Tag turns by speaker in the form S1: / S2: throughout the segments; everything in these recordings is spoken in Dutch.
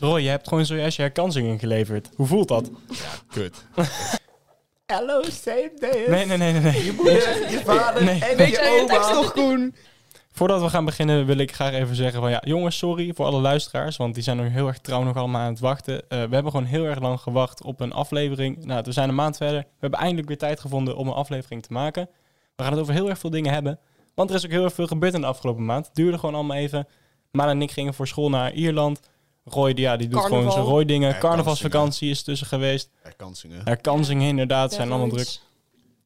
S1: Roy, je hebt gewoon zojuist je herkansing ingeleverd. Hoe voelt dat?
S2: Kut.
S3: Hello, same day.
S1: Nee, nee, nee, nee. nee.
S3: Je vader
S1: Nee.
S3: en
S4: Weet
S3: je
S4: jij je
S3: oma.
S4: tekst nog, Koen?
S1: Voordat we gaan beginnen wil ik graag even zeggen van ja, jongens, sorry voor alle luisteraars, want die zijn nog heel erg trouw nog allemaal aan het wachten. Eh, we hebben gewoon heel erg lang gewacht op een aflevering. Nou, we zijn een maand verder. We hebben eindelijk weer tijd gevonden om een aflevering te maken. We gaan het over heel erg veel dingen hebben, want er is ook heel erg veel gebeurd in de afgelopen maand. Het duurde gewoon allemaal even. Maan en ik gingen voor school naar Ierland. Roy, die- ja, die doet
S4: Carnaval.
S1: gewoon zijn Roy dingen.
S2: Herkansingen.
S1: Carnavalsvakantie is tussen geweest.
S2: Herkansingen.
S1: Herkansingen inderdaad, zijn allemaal druk.
S4: Deadlines.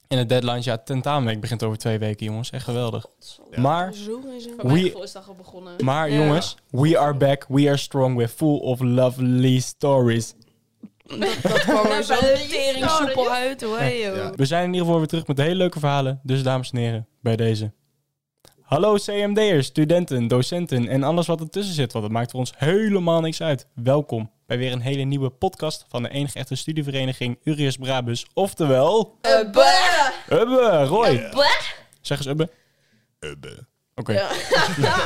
S1: En de deadline, ja, tentamenweek begint over twee weken, jongens. Echt geweldig.
S4: Godverdomme.
S2: Ja.
S1: Maar
S4: Zo en zo.
S1: Voor mijn We- gevoel
S5: is dat al begonnen.
S1: Maar
S4: Ja.
S1: jongens, we are back, we are strong, we're full of lovely stories.
S4: Dat kwam
S5: Ja,
S4: er zo
S5: bij de
S4: tering
S5: jongeren.
S4: soepel uit, hoor. joh.
S2: Ja.
S1: We zijn in ieder geval weer terug met hele leuke verhalen, dus dames en heren, bij deze. Hallo CMD'ers, studenten, docenten en alles wat ertussen zit, want het maakt voor ons helemaal niks uit. Welkom bij weer een hele nieuwe podcast van de enige echte studievereniging Urius Brabus, oftewel...
S4: Eh, bah!
S1: Ubbe, Roy!
S4: Eh, bah!
S1: Zeg eens Ubbe.
S2: Ubbe.
S1: Oké.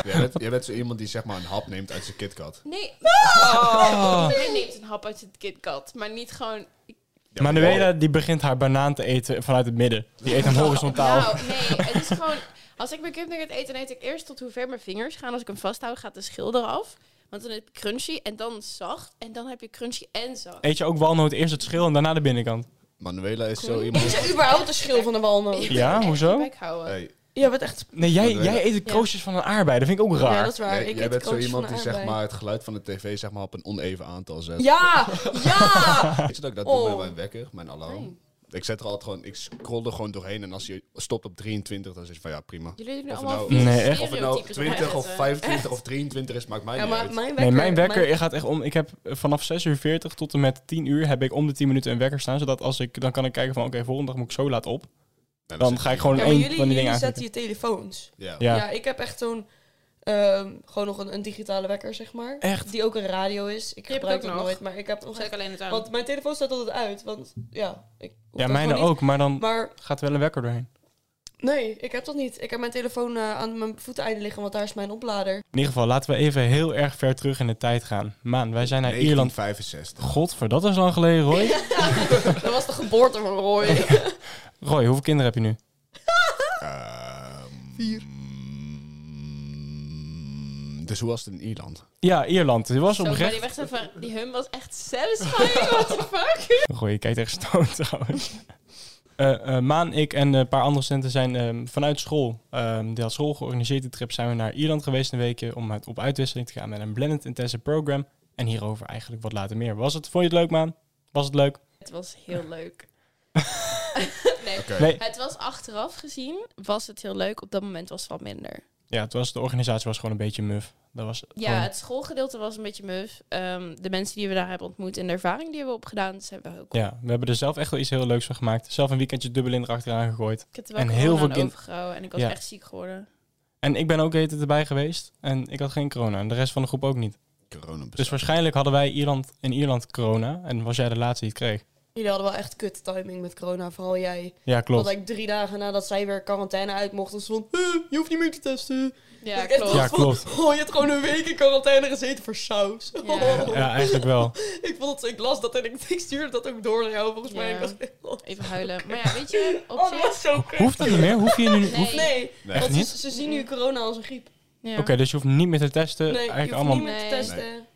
S2: Jij bent, jij bent zo iemand die zeg maar een hap neemt uit zijn KitKat.
S5: Nee, iedereen neemt een hap uit het KitKat, maar niet gewoon...
S2: Ja,
S1: Manuela die begint haar banaan te eten vanuit het midden. Die eet hem horizontaal.
S5: Nou, nee, het is gewoon... Als ik mijn cupnugget eet, dan eet ik eerst tot hoe ver mijn vingers gaan. Als ik hem vasthoud, gaat de schil eraf. Want dan heb je crunchy en dan zacht. En dan heb je crunchy en zacht.
S1: Eet je ook walnoot eerst het schil en daarna de binnenkant?
S2: Manuela is zo
S5: Cool.
S4: Is
S2: iemand...
S4: er überhaupt een schil van de walnoot?
S1: Ja, hoezo?
S5: Kijk houden.
S2: Hey,
S4: Ja, wat echt...
S1: Nee, jij,
S2: Manuela.
S1: jij eet het
S5: Ja.
S1: kroosjes van een aardbei. Dat vind ik ook raar.
S4: Ja, dat is waar.
S2: jij,
S4: ik
S2: jij
S4: eet
S2: bent zo
S4: kroosjes
S2: iemand
S4: van
S2: die
S4: de
S2: zeg
S4: aardbei.
S2: maar het geluid van de tv zeg maar op een oneven aantal zet.
S4: Ja! Ja!
S2: Weet je dat ik dat doe
S4: Oh.
S2: met mijn wekker, mijn alarm?
S5: Nee.
S2: Ik zet er altijd gewoon, ik scroll er gewoon doorheen en als je stopt op 23, dan zeg je van ja prima.
S5: Jullie doen
S2: Of het
S5: allemaal
S2: nou-
S1: Nee, echt.
S2: Of het nou 20
S5: eh,
S2: of 25 of 23 is, maakt mij
S4: Ja,
S2: niet
S4: maar
S2: uit.
S4: mijn wekker...
S1: Nee, mijn wekker gaat echt om. Ik heb eh, vanaf 6 uur 40 tot en met 10 uur heb ik om de 10 minuten een wekker staan. Zodat als ik dan kan ik kijken van oké, volgende dag moet ik zo laat op.
S2: Ja, dat
S1: Dan
S2: zit
S1: ga ik
S2: niet.
S1: gewoon
S4: Ja, maar
S1: één
S4: jullie,
S1: van die dingen
S4: jullie
S1: aanzetten.
S4: zetten je telefoons.
S2: Ja.
S1: Ja.
S4: Ja, ik heb echt zo'n... ehm, gewoon nog een, een digitale wekker, zeg maar.
S1: Echt?
S4: Die ook een radio is. Ik
S5: heb ik
S4: gebruik
S5: ook
S4: dat
S5: nog.
S4: nooit, maar ik heb nog
S5: Zet ik
S4: echt...
S5: alleen het aan.
S4: Want mijn telefoon staat altijd uit, want ja... Ik hoef
S1: Ja,
S4: dat
S1: mijne
S4: gewoon niet.
S1: ook, maar dan
S4: Maar
S1: gaat wel een wekker doorheen.
S4: nee, ik heb dat niet. Ik heb mijn telefoon eh, aan mijn voeteneinde liggen, want daar is mijn oplader.
S1: In ieder geval, laten we even heel erg ver terug in de tijd gaan. Maan, wij zijn naar Ierland.
S2: 1965.
S1: Godver, dat is lang geleden, Roy.
S4: dat was de geboorte van Roy.
S1: Roy, hoeveel kinderen heb je nu?
S2: Vier. Dus hoe was het in Ierland?
S1: Ja, Ierland. Het was
S5: Zo, maar
S1: oprecht.
S5: die, weg zijn van, die hum was echt satisfying, what the fuck?
S1: Goh, je kijkt echt stoned trouwens. Eh, eh, Maan, ik en een paar andere studenten zijn ehm, vanuit school, ehm, die had school georganiseerd, die trip zijn we naar Ierland geweest een weekje om het op uitwisseling te gaan met een blended intensive program. En hierover eigenlijk wat later meer. Was het, vond je het leuk Maan? Was het leuk?
S5: Het was heel leuk. nee,
S2: Oké.
S1: Nee.
S5: het was achteraf gezien, was het heel leuk. Op dat moment was het wat minder.
S1: Ja, het was, de organisatie was gewoon een beetje muf. Dat was
S5: Ja,
S1: gewoon-
S5: het schoolgedeelte was een beetje muf. Ehm, de mensen die we daar hebben ontmoet en de ervaring die we opgedaan, zijn we heel cool.
S1: ja, we hebben er zelf echt wel iets heel leuks van gemaakt. Zelf een weekendje dubbel in erachteraan gegooid.
S5: Ik heb er wel
S1: En
S5: en
S1: heel
S5: heel
S1: veel
S5: veel
S1: kind-
S5: overgehouden en ik was
S1: Ja.
S5: echt ziek geworden.
S1: En ik ben ook eten erbij geweest en ik had geen corona en de rest van de groep ook niet.
S2: Corona
S1: Dus waarschijnlijk hadden wij Ierland in Ierland corona en was jij de laatste die het kreeg.
S4: Jullie hadden wel echt kut timing met corona, vooral jij.
S1: Ja, klopt.
S4: Want like drie dagen nadat zij weer quarantaine uit mochten, ze van, "Huh, je hoeft niet meer te testen. Dat
S5: Ja,
S4: ik echt
S5: klopt.
S1: Ja,
S4: dacht van,
S1: klopt.
S4: Oh, je hebt gewoon een week in quarantaine gezeten voor saus. Oh,
S5: Ja.
S1: Ja, eigenlijk wel.
S4: ik, vond het, ik las dat en ik, ik stuurde dat ook door naar jou, volgens mij.
S5: Ja.
S4: Ik dacht, oh,
S5: Even huilen. Maar ja, weet je, op
S4: dat
S5: zich...
S4: was zo kut.
S1: Hoeft dat niet meer? Hoef je nu niet?
S5: Nee.
S1: hoef-
S4: Nee,
S2: Nee.
S4: want
S1: niet?
S4: ze, ze zien nu corona als een griep.
S5: Ja.
S1: Oké, dus je hoeft niet meer te testen.
S4: Nee, je
S1: eigenlijk
S4: hoeft
S1: allemaal
S4: niet meer te
S5: Nee.
S4: testen.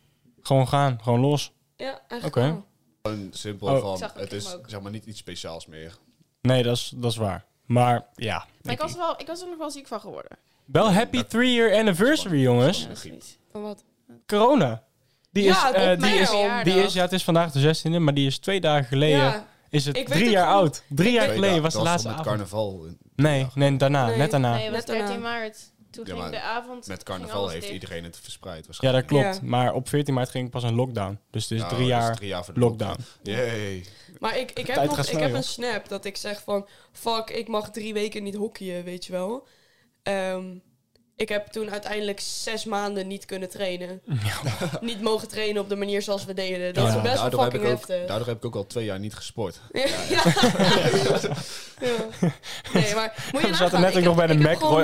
S1: gewoon gaan, gewoon los.
S4: Ja, echt
S1: Oké.
S4: wel.
S2: Gewoon simpel
S1: Oh.
S2: van,
S5: Ik zag- ik
S2: het
S5: heb
S2: is
S5: hem ook.
S2: zeg maar niet iets speciaals meer.
S1: Nee, dat is, dat is waar. Maar ja.
S5: Maar
S1: ik-
S5: ik was, wel, ik was er nog wel ziek van geworden.
S1: Wel happy three-year anniversary, jongens.
S5: Ja, dat is niet.
S4: Van wat?
S1: Corona. Die
S4: Ja,
S1: is,
S4: op
S1: eh,
S4: mijn
S1: die, is,
S5: verjaardag.
S1: die is, ja, het is vandaag de 16e, maar die is twee dagen geleden.
S4: Ja,
S1: Is het
S4: Ik weet
S1: drie
S4: het
S1: jaar
S4: goed.
S1: oud? Drie jaar
S2: Twee
S1: geleden
S2: dagen,
S1: was de
S2: dat
S1: laatste
S2: toch
S1: avond.
S2: met carnaval.
S1: nee, nee, daarna,
S4: Nee.
S1: net daarna.
S5: Nee, het was
S4: Net daarna.
S5: 13 maart. Toen
S2: Ja,
S5: ging
S2: maar
S5: de avond...
S2: Met
S5: ging
S2: carnaval
S5: alles
S2: heeft
S5: dicht.
S2: iedereen het
S1: Ja,
S2: verspreid
S1: dat
S2: waarschijnlijk.
S1: klopt.
S4: Ja.
S1: Maar op 14 maart ging ik pas een lockdown. Dus het is
S2: Nou,
S1: drie
S2: dat is
S1: jaar
S2: drie jaar voor de
S1: lockdown.
S2: Jee.
S4: maar ik, ik heb,
S1: tijd
S4: nog,
S1: gaat
S4: ik
S1: snel,
S4: heb
S1: joh.
S4: een snap dat ik zeg van... Fuck, ik mag drie weken niet hockeyen, weet je wel. Ehm, ik heb toen uiteindelijk zes maanden niet kunnen trainen. niet mogen trainen op de manier zoals we deden. Dat
S1: Ja.
S4: is best wel
S2: daardoor, heb
S4: fucking
S2: ik ook,
S4: heftig.
S2: daardoor heb ik ook al twee jaar niet gesport.
S4: Ja. ja. Nee, maar moet je
S1: We
S4: nagaan,
S1: zaten net ook
S4: ik heb-
S1: nog bij de
S4: ik heb
S1: Mac.
S4: gewoon-
S1: Roy,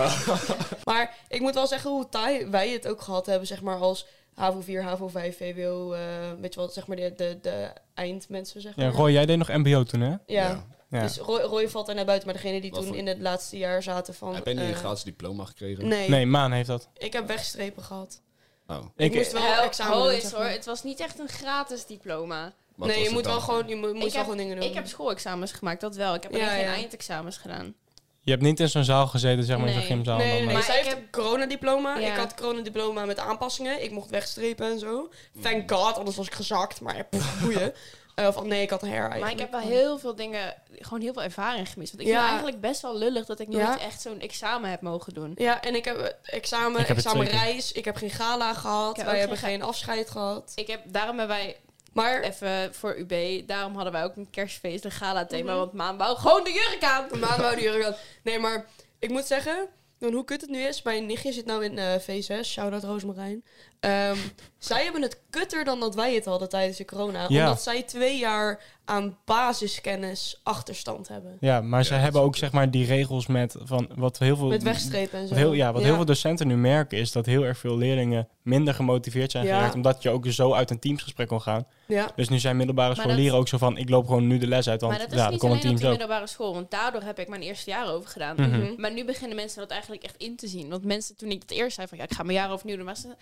S1: ah,
S4: Maar ik moet wel zeggen hoe taai wij het ook gehad hebben, zeg maar, als HAVO 4, HAVO 5, VWO, eh, weet je wel, zeg maar de, de, de eindmensen, zeg maar.
S1: Ja, Roy, jij deed nog mbo toen, hè?
S4: Ja.
S1: Ja.
S4: Dus Roy, Roy valt daar naar buiten, maar degene die
S2: Wat
S4: toen
S2: voor-
S4: in het laatste jaar zaten van...
S2: Heb jij niet
S4: eh,
S2: een gratis diploma gekregen?
S4: Nee,
S1: Nee, Maan heeft dat.
S4: ik heb wegstrepen gehad.
S2: Oh,
S4: Ik,
S1: Ik,
S4: moest wel examen
S5: Ho
S4: doen,
S5: is
S4: zeg
S5: hoor,
S4: maar.
S5: het was niet echt een gratis diploma.
S2: wat
S4: nee,
S2: was
S4: je
S2: het
S4: moet
S2: dan?
S4: wel gewoon, je mo- moet
S5: heb-
S4: wel gewoon dingen doen.
S5: Ik heb schoolexamens gemaakt, dat wel. Ik heb
S4: Ja,
S5: alleen geen
S4: ja.
S5: eindexamens gedaan.
S1: je hebt niet in zo'n zaal gezeten, zeg maar, in
S5: Nee.
S1: zo'n gymzaal.
S4: Nee,
S1: en
S4: nee,
S1: dan,
S4: nee.
S5: Maar
S4: zij
S5: ik
S4: heeft
S5: heb-
S4: een coronadiploma.
S5: Ja.
S4: Ik had coronadiploma met aanpassingen. Ik mocht wegstrepen en zo. Thank
S2: Mm.
S4: god, anders was ik gezakt. Maar ja, pff, boeien. Eh, of nee, ik had een hair eigenlijk.
S5: Maar ik heb wel heel veel dingen, gewoon heel veel ervaring gemist. Want ik
S4: Ja.
S5: vind het eigenlijk best wel lullig dat ik nooit
S4: Ja.
S5: echt zo'n examen heb mogen doen.
S4: Ja, en ik heb eh, examen,
S1: Ik heb het
S4: examenreis. Ik heb geen gala gehad.
S5: Ik heb
S4: wij
S5: ook
S4: hebben
S5: geen
S4: geen afscheid gehad.
S5: Ik heb, daarom hebben wij,
S4: Maar
S5: even voor UB, daarom hadden wij ook een kerstfeest, een gala thema.
S4: Mhm.
S5: Want Maan wou gewoon de jurk aan.
S4: de maan wou die jurk aan. Nee, maar ik moet zeggen... Dan hoe kut het nu is, mijn nichtje zit nou in eh V6, shout-out Roosmarijn. Ehm, zij hebben het kutter dan dat wij het hadden tijdens de corona.
S1: Ja.
S4: Omdat zij twee jaar aan basiskennis achterstand hebben.
S1: Ja, maar ze
S2: Ja,
S1: hebben
S2: dat
S1: ook, zeg maar, die regels met, van, wat heel veel...
S4: Met wegstrepen en zo.
S1: Wat heel, ja, wat heel veel docenten nu merken is dat heel erg veel leerlingen minder gemotiveerd zijn
S4: Ja.
S1: geraakt. Omdat je ook zo uit een teamsgesprek kon gaan.
S4: Ja,
S1: Dus nu zijn middelbare
S5: Maar
S1: scholieren ook zo van, ik loop gewoon nu de les uit, want
S5: maar dat is
S1: ja, dan
S5: niet
S1: kon een
S5: alleen op
S1: team
S5: de
S1: zo.
S5: middelbare school, want daardoor heb ik mijn eerste jaar over gedaan.
S4: Mhm.
S5: Maar nu beginnen mensen dat eigenlijk echt in te zien. Want mensen, toen ik het eerst zei van, ja, ik ga mijn jaar overnieuw doen. Maar ze,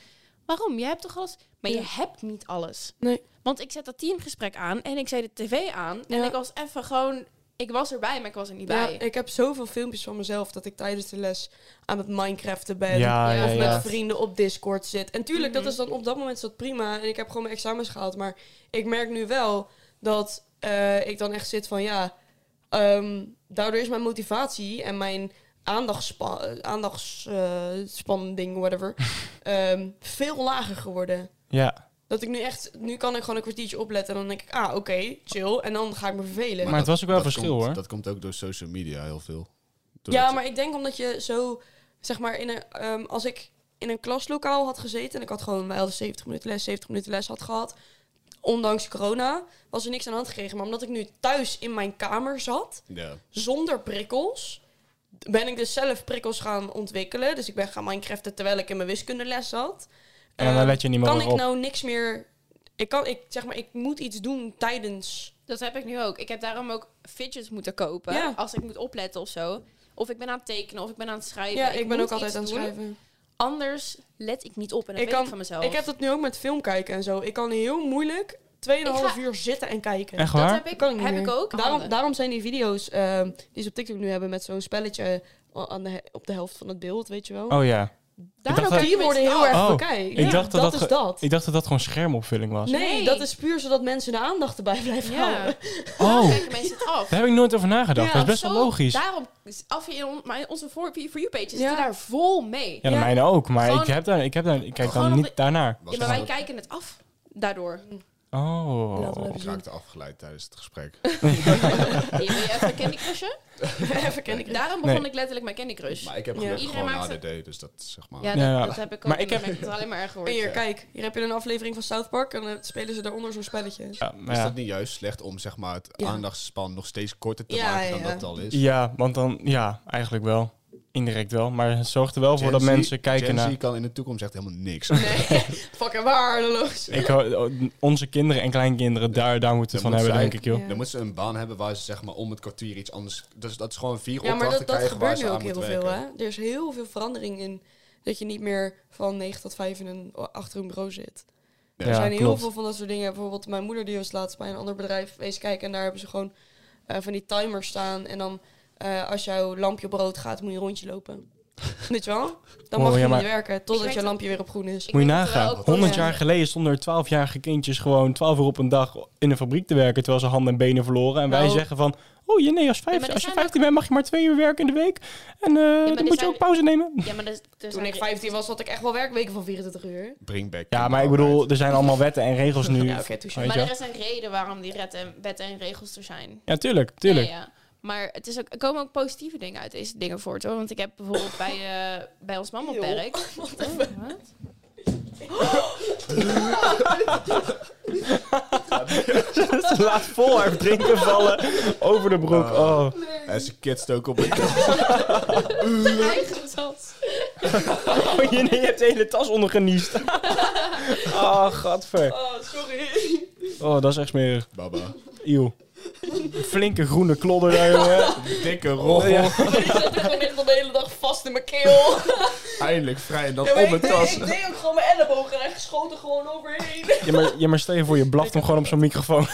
S5: waarom? Jij hebt toch alles? Maar je
S4: Ja.
S5: hebt niet alles.
S4: Nee.
S5: Want ik zet dat teamgesprek aan en ik zei de tv aan. En
S4: Ja.
S5: ik was even gewoon, ik was erbij, maar ik was er niet
S4: ja,
S5: bij.
S4: ik heb zoveel filmpjes van mezelf dat ik tijdens de les aan het Minecraften ben.
S1: Ja, ja,
S4: of
S1: ja.
S4: met vrienden op Discord zit. En tuurlijk,
S5: Mhm.
S4: dat is dan op dat moment is dat prima. En ik heb gewoon mijn examens gehaald. Maar ik merk nu wel dat eh, ik dan echt zit van ja. ehm, daardoor is mijn motivatie en mijn aandachtspan, aandachtsspanning, whatever, ehm, veel lager geworden.
S1: Ja,
S4: Dat ik nu echt, nu kan ik gewoon een kwartiertje opletten en dan denk ik, ah, oké, chill. En dan ga ik me vervelen.
S1: Maar het was ook wel verschil,
S2: komt-
S1: hoor.
S2: Dat komt ook door social media heel veel. Doordat
S4: Ja,
S2: je-
S4: maar ik denk omdat je zo, zeg maar, in een, ehm, als ik in een klaslokaal had gezeten en ik had gewoon, wij hadden 70 minuten les, 70 minuten les had gehad, ondanks corona, was er niks aan de hand gekregen. Maar omdat ik nu thuis in mijn kamer zat,
S2: Ja.
S4: zonder prikkels, ben ik dus zelf prikkels gaan ontwikkelen. Dus ik ben gaan Minecraften terwijl ik in mijn wiskundeles zat.
S1: en dan
S4: Ehm,
S1: let je niet
S4: kan
S1: meer
S4: ik
S1: op.
S4: nou niks meer, ik kan, ik zeg maar, ik moet iets doen tijdens.
S5: Dat heb ik nu ook. Ik heb daarom ook fidgets moeten kopen.
S4: Ja.
S5: Als ik moet opletten of zo. Of ik ben aan het tekenen, of ik ben aan het schrijven.
S4: Ja, ik, ben
S5: moet
S4: ook altijd
S5: iets
S4: aan het
S5: doen.
S4: schrijven.
S5: Anders let ik niet op en dat
S4: Ik
S5: weet
S4: kan-
S5: ik van mezelf.
S4: Ik heb dat nu ook met film kijken en zo. Ik kan heel moeilijk 2,5
S5: Ik
S4: uur zitten en kijken.
S1: Echt Oh.
S5: dat
S1: waar?
S5: heb ik,
S4: kan ik niet
S5: heb
S4: meer.
S5: ik ook.
S4: Daarom,
S5: Handen.
S4: daarom zijn die video's ehm, die ze op TikTok nu hebben met zo'n spelletje a- aan de he- op de helft van het beeld, weet je wel. Nou,
S1: Oh ja.
S5: Daardoor
S1: dacht
S5: kan
S1: dat-
S5: ik
S4: die worden heel erg
S1: Oh,
S4: bekijkt.
S1: ik
S4: Ja,
S1: dacht dat dat
S4: dat, is
S1: ge-
S4: dat.
S1: Ik dacht dat dat gewoon schermopvulling was.
S4: Nee,
S5: Nee.
S4: dat is puur zodat mensen de aandacht erbij blijven
S5: Ja.
S4: houden.
S1: Oh,
S5: kijken mensen het af.
S1: daar heb ik nooit over nagedacht.
S4: Ja,
S1: dat is best wel
S5: Zo,
S1: logisch.
S5: Daarom is af in on- maar onze voor, for you pages
S4: Ja.
S5: zitten daar vol mee.
S1: ja, de
S4: ja.
S1: mijne ook, maar
S5: Gewoon-
S1: ik, heb daar, ik, heb daar, ik kijk
S5: Gewoon
S1: dan
S5: op
S1: niet
S5: de-
S1: daarnaar.
S5: Ja,
S2: Was
S5: maar
S2: dat
S5: wij
S2: ook-
S5: kijken het af daardoor.
S4: Laten we
S1: Oh.
S4: even
S2: Ik
S4: zien.
S2: raakte afgeleid tijdens het gesprek.
S5: Hier wil je even Candy Crushen?
S4: Even ken ik het.
S5: Daarom begon
S1: Nee.
S5: ik letterlijk mijn Candy Crush.
S2: Maar ik heb
S4: Ja.
S2: gelukkig
S5: Dus- Iedereen
S2: gewoon
S5: maakt
S2: ADD, dus dat is zeg maar...
S5: ja, dat,
S1: Ja.
S5: dat heb ik ook.
S1: Maar ik
S5: en dan
S1: heb-
S5: heb ik het alleen maar erger geworden.
S4: Hier, kijk. Hier heb je een aflevering van South Park en dan spelen ze daaronder zo'n spelletje.
S1: Ja, maar
S2: Is
S1: ja.
S2: Dus dat niet juist slecht om zeg maar, het
S4: Ja.
S2: aandachtspan nog steeds korter te
S4: Ja,
S2: maken dan
S4: ja.
S2: dat het al is?
S1: ja, want dan, ja, eigenlijk wel. Indirect wel, maar het zorgt er wel voor
S2: Gen
S1: dat
S2: Z-
S1: mensen kijken
S2: Gen Z
S1: naar...
S2: kan in de toekomst echt helemaal niks.
S4: Nee, fucking waardeloos.
S1: Ik, ho- onze kinderen en kleinkinderen, daar, daar moeten we het
S2: Dan
S1: van hebben,
S2: moeten zij-
S1: denk ik, joh.
S4: Ja.
S2: Dan moeten ze een baan hebben waar ze zeg maar, om het kwartier iets anders... Dus dat is gewoon vier
S4: Ja, maar
S2: opdrachten
S4: dat, dat
S2: krijgen waar
S4: gebeurt
S2: ze
S4: nu
S2: aan
S4: ook
S2: moeten
S4: heel
S2: werken.
S4: veel, hè? Er is heel veel verandering in dat je niet meer van 9 tot 5 in een, achter een bureau zit.
S2: Ja,
S4: er zijn heel
S1: klopt.
S4: veel van dat soort dingen. Bijvoorbeeld mijn moeder die was laatst bij een ander bedrijf geweest kijken... en daar hebben ze gewoon eh, van die timers staan... en dan eh, als jouw lampje op rood gaat, moet je een rondje lopen. Weet je wel? Dan
S1: Oh,
S4: mag
S1: ja,
S4: je
S1: maar-
S4: niet werken
S5: Ik
S4: totdat
S5: weet
S4: jouw
S5: dat-
S4: lampje weer op groen is.
S5: Ik
S1: Moet je
S5: denk dat we
S1: nagaan.
S5: ook-
S1: 100
S4: Ja.
S1: jaar geleden stonden er 12-jarige kindjes gewoon 12 uur op een dag in een fabriek te werken. terwijl ze handen en benen verloren. En wij
S4: Nou.
S1: zeggen van. Oh je nee, als, vijf,
S5: Ja, maar er
S1: als je
S5: zijn
S1: 15 bent mag je maar twee uur werken in de week. En eh, dan
S5: er
S1: moet je
S5: zijn-
S1: ook pauze nemen.
S5: Ja, maar dat is- er
S4: Toen
S5: zijn-
S4: ik 15 was, had ik echt wel werkweken van 24 uur.
S2: Bring back.
S1: Ja, maar ik bedoel, er zijn allemaal wetten en regels nu.
S4: Ja, oké, touche.
S1: Weet
S5: Maar
S1: je wel?
S5: er is een reden waarom die ret- en- wetten en regels er zijn.
S1: Ja, tuurlijk, tuurlijk.
S5: Ja, ja. Maar het is ook, er komen ook positieve dingen uit deze dingen voort hoor. Want ik heb bijvoorbeeld bij, eh, bij ons mama op
S4: Eeuw.
S5: werk. Oh, wat?
S1: Ze laat vol haar drinken vallen over de broek. Oh.
S2: En ze kitst ook op het...
S5: Eigen tas.
S1: Oh, je, nee, je hebt de hele tas ondergeniest. Oh, gadver.
S4: Oh, sorry.
S1: Oh, dat is echt smerig.
S2: Baba.
S1: Eeuw. Flinke groene klodder daar, jongen.
S2: Dikke roggel.
S1: Ja.
S4: Ik zat ook echt al de hele dag vast in mijn keel.
S2: Eindelijk vrij en dan
S4: Ja, maar
S2: op mijn
S4: ik,
S2: tas.
S4: ik deed ook gewoon mijn ellebogen en hij schoot er gewoon overheen.
S1: Ja, maar, ja, maar stel je voor, je blaft hem gewoon op zo'n microfoon.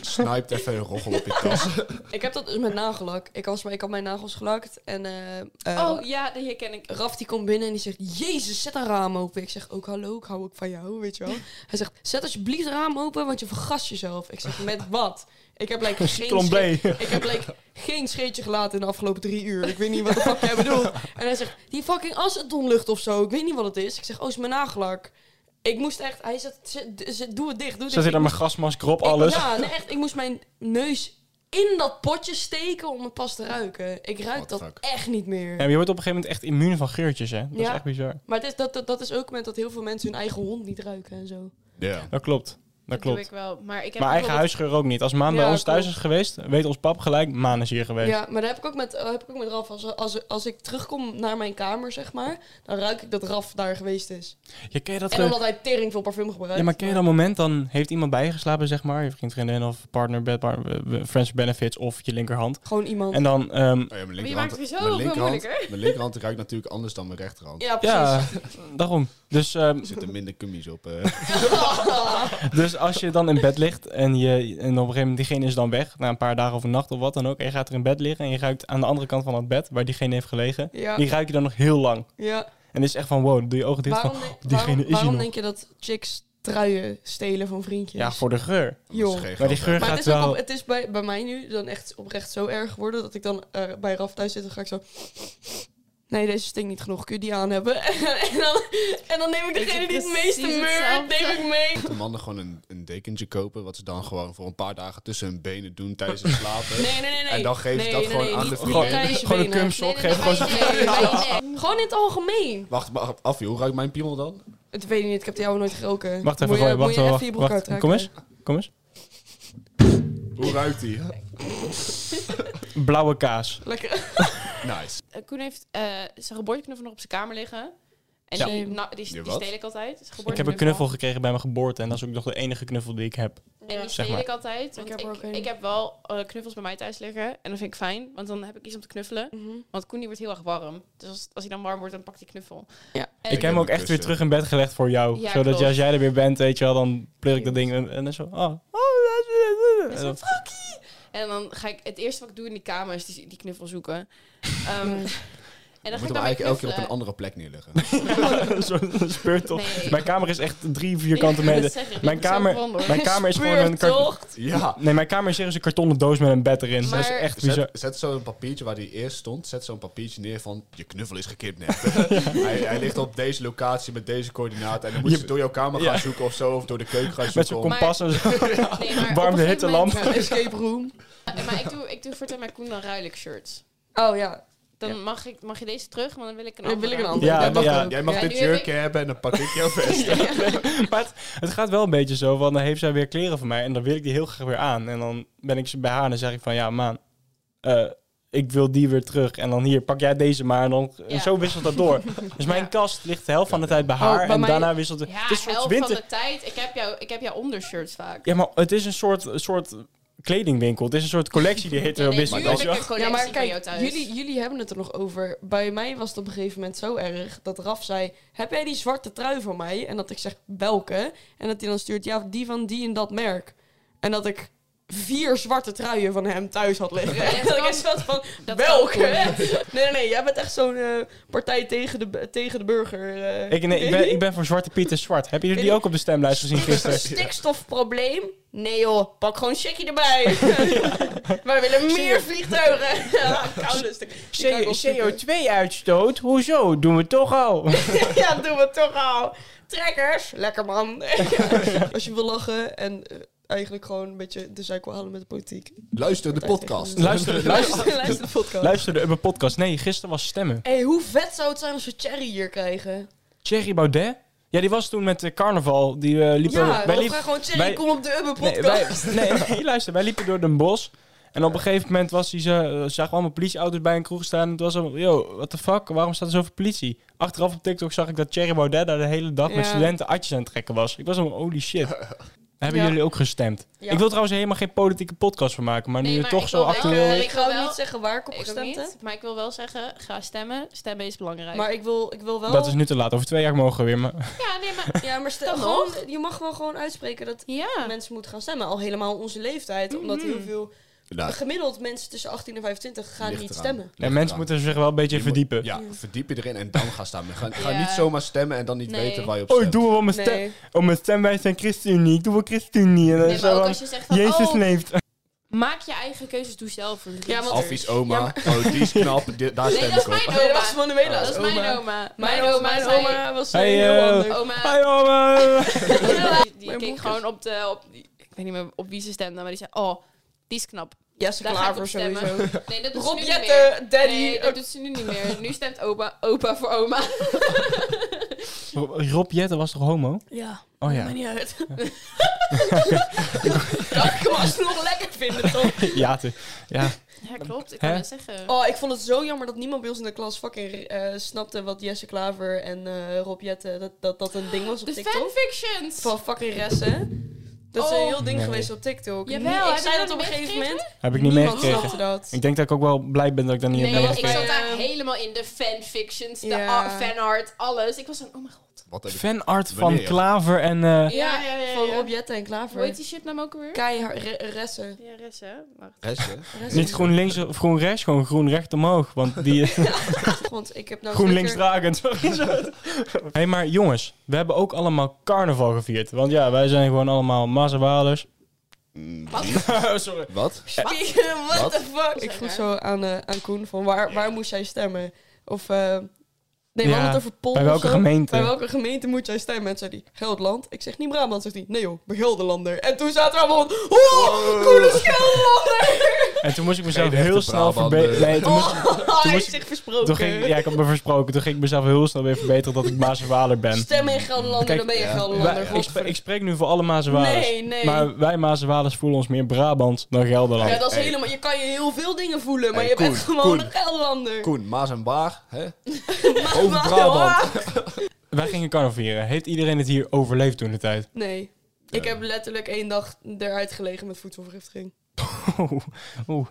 S2: Snijpt even een roggel op je tas.
S4: Ik heb dat dus met nagellak. Ik, was, ik had mijn nagels gelakt en eh, eh,
S5: Oh ja, die herken ik.
S4: Raf die komt binnen en die zegt: Jezus, zet een raam open. Ik zeg ook hallo, ik hou ook van jou, weet je wel. Hij zegt: Zet alsjeblieft het raam open, want je vergast jezelf. Ik zeg: Met wat? Ik heb like, geen,
S1: Plan B.
S4: scheet, ik heb, like, geen scheetje gelaten in de afgelopen drie uur. Ik weet niet wat de fuck jij bedoelt. En hij zegt: Die fucking acetonlucht of zo. Ik weet niet wat het is. Ik zeg: Oh, is mijn nagelak. Ik moest echt. Hij zegt: "Zet- zet- Doe het dicht. Doe
S1: Zet
S4: het
S1: je
S4: dicht."
S1: dan mijn gasmasker op,
S4: Ik-
S1: alles.
S4: ja, nee, echt. Ik moest mijn neus in dat potje steken om het pas te ruiken. Ik ruik
S2: What the
S4: dat
S2: fuck.
S4: echt niet meer.
S1: Ja, maar je wordt op een gegeven moment echt immuun van geurtjes, hè. Dat is
S4: Ja.
S1: echt bizar.
S4: Maar het is, dat, dat, dat is ook met dat heel veel mensen hun eigen hond niet ruiken en zo.
S2: Ja.
S1: Dat klopt. Dat
S5: Dat doe
S1: klopt.
S5: ik wel. Maar ik heb
S1: Maar eigen
S5: bijvoorbeeld-
S1: huisgeur ook niet. Als Maan bij
S4: Ja,
S1: ons thuis
S4: klopt.
S1: is geweest, weet ons pap gelijk, Maan is hier geweest.
S4: Ja, maar dat heb ik ook met, eh, heb ik ook met Raf. Als, als, als ik terugkom naar mijn kamer, zeg maar, dan ruik ik dat Raf daar geweest is.
S1: Je ken je dat
S4: En
S1: ge-
S4: omdat hij tering veel parfum gebruikt.
S1: Ja, maar ken je dat moment, dan heeft iemand bij je geslapen, zeg maar. Je vriend, vriendin of partner, bed, par- eh, friends with benefits of je linkerhand.
S4: Gewoon iemand.
S1: En dan, ehm,
S2: Oh ja, mijn
S5: Maar je
S2: linkerhand,
S5: maakt het weer zo
S2: mijn
S5: veel
S2: linkerhand,
S5: moeilijker.
S2: mijn linkerhand ruikt natuurlijk anders dan mijn rechterhand.
S4: ja, precies.
S1: ja, daarom. Dus, ehm,
S2: Er zitten minder cummies op. eh.
S1: dus als je dan in bed ligt en, je, en op een gegeven moment diegene is dan weg, na een paar dagen of een nacht of wat dan ook, en je gaat er in bed liggen en je ruikt aan de andere kant van het bed, waar diegene heeft gelegen,
S4: Ja,
S1: die ruik je dan nog heel lang.
S4: ja.
S1: En het is echt van, wow, dan doe je ogen dicht
S4: Waarom,
S1: van,
S4: denk-
S1: diegene
S4: waarom,
S1: is hier
S4: waarom
S1: nog.
S4: denk je dat chicks truien stelen van vriendjes?
S1: ja, voor de geur.
S4: Joh.
S2: Omdat ze geen
S1: Maar die
S2: geld
S1: geur
S4: Maar
S1: gaat
S4: het is, ook
S1: wel-
S4: op- het is bij, bij mij nu dan echt oprecht zo erg geworden dat ik dan eh, bij Raf thuis zit en ga ik zo... Nee, deze stinkt niet genoeg. Kun je die aan hebben? en, dan, en dan neem ik degene die het meeste
S5: precies
S4: meurt,
S5: hetzelfde.
S4: neem ik mee.
S2: de mannen gewoon een, een dekentje kopen, wat ze dan gewoon voor een paar dagen tussen hun benen doen tijdens het slapen.
S4: Nee, nee, nee. nee.
S2: En dan geven ze
S4: nee,
S2: dat gewoon aan
S4: niet-
S2: de
S4: niet
S2: vriendin.
S4: tijdens je
S1: Gewoon een
S4: benen.
S1: kumsok,
S5: Nee, nee,
S1: geef gewoon
S5: nee,
S1: zo'n...
S5: nee, nee, nee, nee.
S4: Gewoon in het algemeen.
S2: Wacht, wacht, af, hoe ruikt mijn piemel dan?
S4: Het weet ik niet, ik heb die jou nooit geroken.
S1: Wacht even,
S4: Moet je-
S1: Roy,
S4: moet
S1: wacht
S4: je even je
S1: even.
S4: broek
S1: wacht, wacht.
S4: uittrekken.
S1: Kom eens, kom eens.
S2: Hoe ruikt die?
S1: Blauwe kaas.
S4: Lekker.
S2: Nice.
S5: Eh, Koen heeft eh, zijn geboorteknuffel nog op zijn kamer liggen. En
S4: Ja.
S5: die, na- die, die
S2: Je wat?
S5: steel ik
S1: Ik
S5: altijd. Zijn
S1: heb een
S5: geboorteknuffel.
S1: knuffel gekregen bij mijn geboorte en dat is ook nog de enige knuffel die ik heb.
S5: En die
S1: Zeg
S5: steel
S1: maar.
S5: ik altijd. Want
S4: Ik
S5: ik,
S4: heb er ook
S5: ik,
S4: een.
S5: heb wel eh, knuffels bij mij thuis liggen. En dat vind ik fijn, want dan heb ik iets om te knuffelen. Want Koen die wordt heel erg warm. Dus als, als hij dan warm wordt, dan pakt hij knuffel.
S4: Ja.
S5: En-
S1: Ik heb hem ook
S2: hem
S1: echt weer
S2: kussen.
S1: terug in bed gelegd voor jou.
S5: Ja,
S1: zodat
S5: klopt.
S1: als jij er weer bent, weet je wel, dan pleur ik dat ding en, en dan zo... Oh, oh,
S5: En,
S1: dat is-
S5: en dan ga ik het eerste wat ik doe in die kamer is die, die knuffel zoeken. Ehm,
S2: We
S5: en dan eh. ga
S2: moeten
S5: ik
S2: hem
S5: daarmee
S2: eigenlijk elke keer op een
S5: knuffelen.
S2: andere plek neerleggen.
S1: Zo'n speurtocht.
S5: Nee.
S1: Mijn kamer is echt drie vierkante
S5: Ja, dus- dat
S1: meter.
S5: zeg ik. Ik
S1: Mijn
S5: moet zo
S1: kamer-
S5: veranderen.
S1: Mijn kamer is gewoon een... kar-
S4: Speurtocht.
S2: ja.
S1: Nee, mijn kamer is serieus een kartonnen doos met een bed erin. Dat is
S5: Maar-
S1: echt bizar.
S2: Zet, zet zo'n papiertje waar die eerst stond, zet zo'n papiertje neer van je knuffel is gekidnapt. hij, hij ligt op deze locatie met deze coördinaten en dan moet je,
S1: Je-
S2: door jouw kamer
S1: Ja.
S2: gaan zoeken of zo, of door de keuken gaan
S1: Met
S2: zoeken.
S1: zo'n
S2: om-
S1: kompas en zo.
S5: Nee, maar op
S1: Warm
S5: een
S1: de
S5: gegeven moment-
S4: Een escape room.
S5: Ja, maar ik doe, ik doe voortaan met Koen dan ruil ik shirts.
S4: Oh ja,
S5: Dan
S1: Ja.
S5: mag, ik, mag je deze terug, maar dan wil ik een
S4: dan
S5: andere.
S4: wil ik een ander.
S1: Ja,
S4: dat mag
S1: ja.
S4: ook.
S2: Jij mag
S5: Ja,
S2: dit
S5: nu heb
S2: jurkje hebben en dan pak ik jouw vest.
S1: Maar het, het gaat wel een beetje zo van, dan heeft zij weer kleren van mij en dan wil ik die heel graag weer aan. En dan ben ik ze bij haar en dan zeg ik van, ja maan, eh, ik wil die weer terug. En dan hier, pak jij deze maar. En, dan, en
S5: Ja. Oh,
S1: zo wisselt dat door. Dus mijn kast ligt de helft van de tijd bij haar
S4: bij
S1: en
S4: mij-
S1: daarna wisselt het.
S5: Ja,
S1: het is een soort
S5: helft
S1: winter.
S5: van de tijd. Ik heb, jou, ik heb jouw ondershirts vaak.
S1: Ja, maar het is een soort, een soort kledingwinkel. Het is een soort collectie die heet
S5: Nee,
S1: wel
S5: nee,
S1: business.
S5: nu
S1: weet
S5: heb
S1: je
S5: ik
S1: wel.
S5: een collectie
S4: Ja, maar
S5: van jou
S4: kijk,
S5: thuis.
S4: jullie, jullie hebben het er nog over. Bij mij was het op een gegeven moment zo erg dat Raf zei: Heb jij die zwarte trui van mij? En dat ik zeg: Welke? En dat hij dan stuurt: Ja, die van die en dat merk. En dat ik vier zwarte truien van hem thuis had liggen. En dat ik echt zat van:
S5: Dat
S4: Welke?
S5: kan
S4: Nee, nee, nee, jij bent echt zo'n eh, partij tegen de, bu- tegen de burger. eh.
S1: Ik, nee, ik, ben, ik ben voor Zwarte Piet en Zwart. Hebben jullie die ook op de stemlijst gezien gisteren?
S4: Stikstofprobleem? Nee joh, pak gewoon een checkie erbij. Wij willen meer vliegtuigen. Ja, koude stuk.
S1: CO2-uitstoot? Hoezo? Doen we toch al?
S4: Ja, doen we toch al. Trekkers, lekker man. Als je wil lachen en eh, eigenlijk gewoon een beetje de zeik wil halen met de politiek.
S2: Luister de podcast.
S1: Luister, luister,
S4: Luister de podcast.
S1: luister de Ubbe podcast. Nee, gisteren was stemmen.
S4: hey, hoe vet zou het zijn als we Cherry hier krijgen?
S1: Thierry Baudet? Ja, die was toen met de carnaval. Die eh, liep
S4: ja,
S1: wij
S4: we
S1: liepen-
S4: gaan gewoon Cherry,
S1: wij-
S4: kom op de Ubbe
S1: Nee,
S4: podcast.
S1: wij- nee, nee, luister. Wij liepen door Den Bos. En op een gegeven moment was hij ze, zagen we allemaal politieauto's bij een kroeg staan. En het was al, yo, what the fuck, waarom staat er zoveel politie? Achteraf op TikTok zag ik dat Thierry Baudet daar de hele dag met
S4: Ja.
S1: studenten atjes aan het trekken was. Ik was al, holy shit. Hebben
S4: Ja.
S1: jullie ook gestemd?
S4: Ja.
S1: Ik wil trouwens helemaal geen politieke podcast van maken, maar nu
S5: Nee,
S1: je
S5: maar
S1: toch
S5: ik
S1: zo
S5: wil wel-
S1: achter...
S5: eh,
S1: wil-
S4: ik ga
S5: wil
S4: ook
S5: wel-
S4: niet zeggen waar ik op
S5: Ik ook
S4: gestemd heb.
S5: niet, maar ik wil wel zeggen, ga stemmen. Stemmen is belangrijk.
S4: Maar ik wil, ik wil wel...
S1: Dat is nu te laat, over twee jaar mogen we weer. Maar...
S5: Ja, nee, maar...
S4: Ja, maar stel,
S5: Kan
S4: gewoon, je mag wel gewoon uitspreken dat
S5: Ja.
S4: mensen moeten gaan stemmen. Al helemaal onze leeftijd. Omdat heel veel...
S2: Nou,
S4: Gemiddeld mensen tussen 18 en 25 gaan
S2: ligt
S4: niet
S2: eraan.
S4: stemmen.
S1: Nee,
S2: Ligt
S1: mensen
S2: eraan.
S1: moeten zich wel een beetje
S2: Je moet-
S1: verdiepen.
S2: Ja, verdiep je erin en dan ga stemmen. Ga, ga
S5: Ja.
S2: niet zomaar stemmen en dan niet
S5: Nee.
S2: weten waar je op
S1: Oh,
S2: stemt.
S1: ik doe wel mijn stem.
S4: Nee.
S1: Oh, mijn stem, wij zijn ChristenUnie. Ik doe wel ChristenUnie. En dan
S5: Nee,
S1: Eh, zo
S5: maar ook
S1: van,
S5: als je zegt van,
S1: Jezus
S5: oh,
S1: leeft.
S5: maak je eigen keuzes, doe zelf. een
S4: Ja, want-
S2: Alfie's oma. Oh, die is knap. di- daar
S5: Nee,
S2: stem
S5: Oh,
S2: ik
S5: dat is
S2: op.
S5: mijn
S4: Nee,
S5: oma.
S4: dat is Manuela's
S5: Dat is
S4: oma.
S5: mijn oma.
S4: Mijn oma, mijn
S5: zei-
S4: oma was
S1: Hey,
S4: heel
S1: eh,
S4: anders.
S5: Oma.
S1: Hi, oma.
S5: Die- Die keek
S4: Mijn broek
S5: gewoon op de... Op, ik weet niet meer op wie ze stemde, maar die zei... Oh, die is knap.
S4: Ja, ze
S5: Daar ga ik op stemmen. Nee, dat doet
S4: Rob
S5: ze nu niet
S4: Jetten,
S5: meer.
S4: daddy.
S5: Nee, dat doet ze nu niet meer. Nu stemt opa, opa voor oma.
S1: Rob- Rob Jetten was toch homo?
S4: Ja,
S1: Oh ja.
S4: maakt niet uit. Ja, ik kan me alsnog lekker vinden, toch?
S1: Ja, te- ja.
S5: Ja, klopt. Ik
S1: Hè?
S5: kan het zeggen.
S4: Oh, ik vond het zo jammer dat niemand bij ons in de klas fucking eh, snapte wat Jesse Klaver en eh Rob Jetten, dat, dat dat een ding was op
S5: de
S4: TikTok.
S5: fanfictions!
S4: Van fucking ressen. Dat is
S5: Oh.
S4: een heel ding
S1: Nee.
S4: geweest op TikTok.
S5: Jawel,
S4: ik
S5: heb je
S4: zei
S5: dat
S4: dat op een
S5: niet
S4: gegeven moment.
S1: Heb ik niet
S4: niemand
S1: meegekregen.
S4: snapte dat.
S1: Ik denk dat ik ook wel blij ben dat ik daar niet
S5: Nee,
S1: in
S5: want
S1: meegekregen
S5: ik
S4: Ja.
S5: zat daar helemaal in de fanfictions, de
S4: Ja.
S5: a- fanart, alles. Ik was zo, oh mijn god.
S2: Wat heb ik-
S1: Fanart van
S2: Wanneer?
S1: Klaver en... eh,
S5: Ja, ja, ja,
S4: Van
S5: ja.
S4: Rob Jetten en
S5: Hoe heet
S4: Klaver.
S5: die shit nou ook alweer?
S4: Keihard re- ressen.
S5: Ja, Res, hè? Wacht.
S2: Rest, hè?
S4: Ressen.
S1: Niet groen links of groen rechts, gewoon groen recht omhoog. Want die is
S4: Want ik heb nou
S1: groen links
S4: zeker-
S1: dragend. Sorry, sorry. hey, maar jongens, we hebben ook allemaal carnaval gevierd. Want ja, wij zijn gewoon allemaal mazzelwalers.
S2: Mm,
S5: Wat?
S2: wie?
S1: Sorry.
S2: Wat?
S4: What the fuck? Ik
S5: Zeg
S4: vroeg
S5: maar.
S4: zo aan, eh, aan Koen van waar, waar moest jij stemmen? Of eh, nee, we
S1: Ja,
S4: hadden het over Polen.
S1: Bij welke
S4: of zo.
S1: gemeente?
S4: Bij welke gemeente moet jij stemmen? En zei hij, Gelderland. Ik zeg niet Brabant, zegt hij. Nee joh, ik ben Gelderlander. En toen zaten we allemaal van, oh, Koen is Gelderlander!
S1: En toen moest ik mezelf
S2: Geen echte
S1: heel snel
S2: Brabander.
S1: verbeteren. Nee, toen moest-
S4: Oh, hij
S1: moest
S4: heeft
S1: ik-
S4: zich versproken.
S1: Toen ging, ja, ik had me versproken. Toen ging ik mezelf heel snel weer verbeteren dat ik Mazenwaler ben.
S4: Stem in Gelderlander,
S1: Kijk,
S4: dan ben je
S2: ja.
S4: Gelderlander.
S1: Wij- ik,
S4: godver-
S1: spreek, ik spreek nu voor alle Mazenwalers.
S4: nee, nee.
S1: Maar wij Mazenwalers voelen ons meer Brabant dan Gelderland.
S4: ja, dat is
S2: Hey.
S4: helemaal, je kan je heel veel dingen voelen, maar
S2: Hey,
S4: je
S2: Koen,
S4: bent gewoon
S2: Koen.
S4: een Gelderlander.
S2: Koen, Maas en Baar, hè?
S4: Maar-
S2: Over Brabant.
S1: Wij gingen carnaval vieren. Heeft iedereen het hier overleefd toen de tijd?
S4: Nee. Ik heb letterlijk één dag eruit gelegen met voedselvergiftiging.
S1: Oeh, oeh.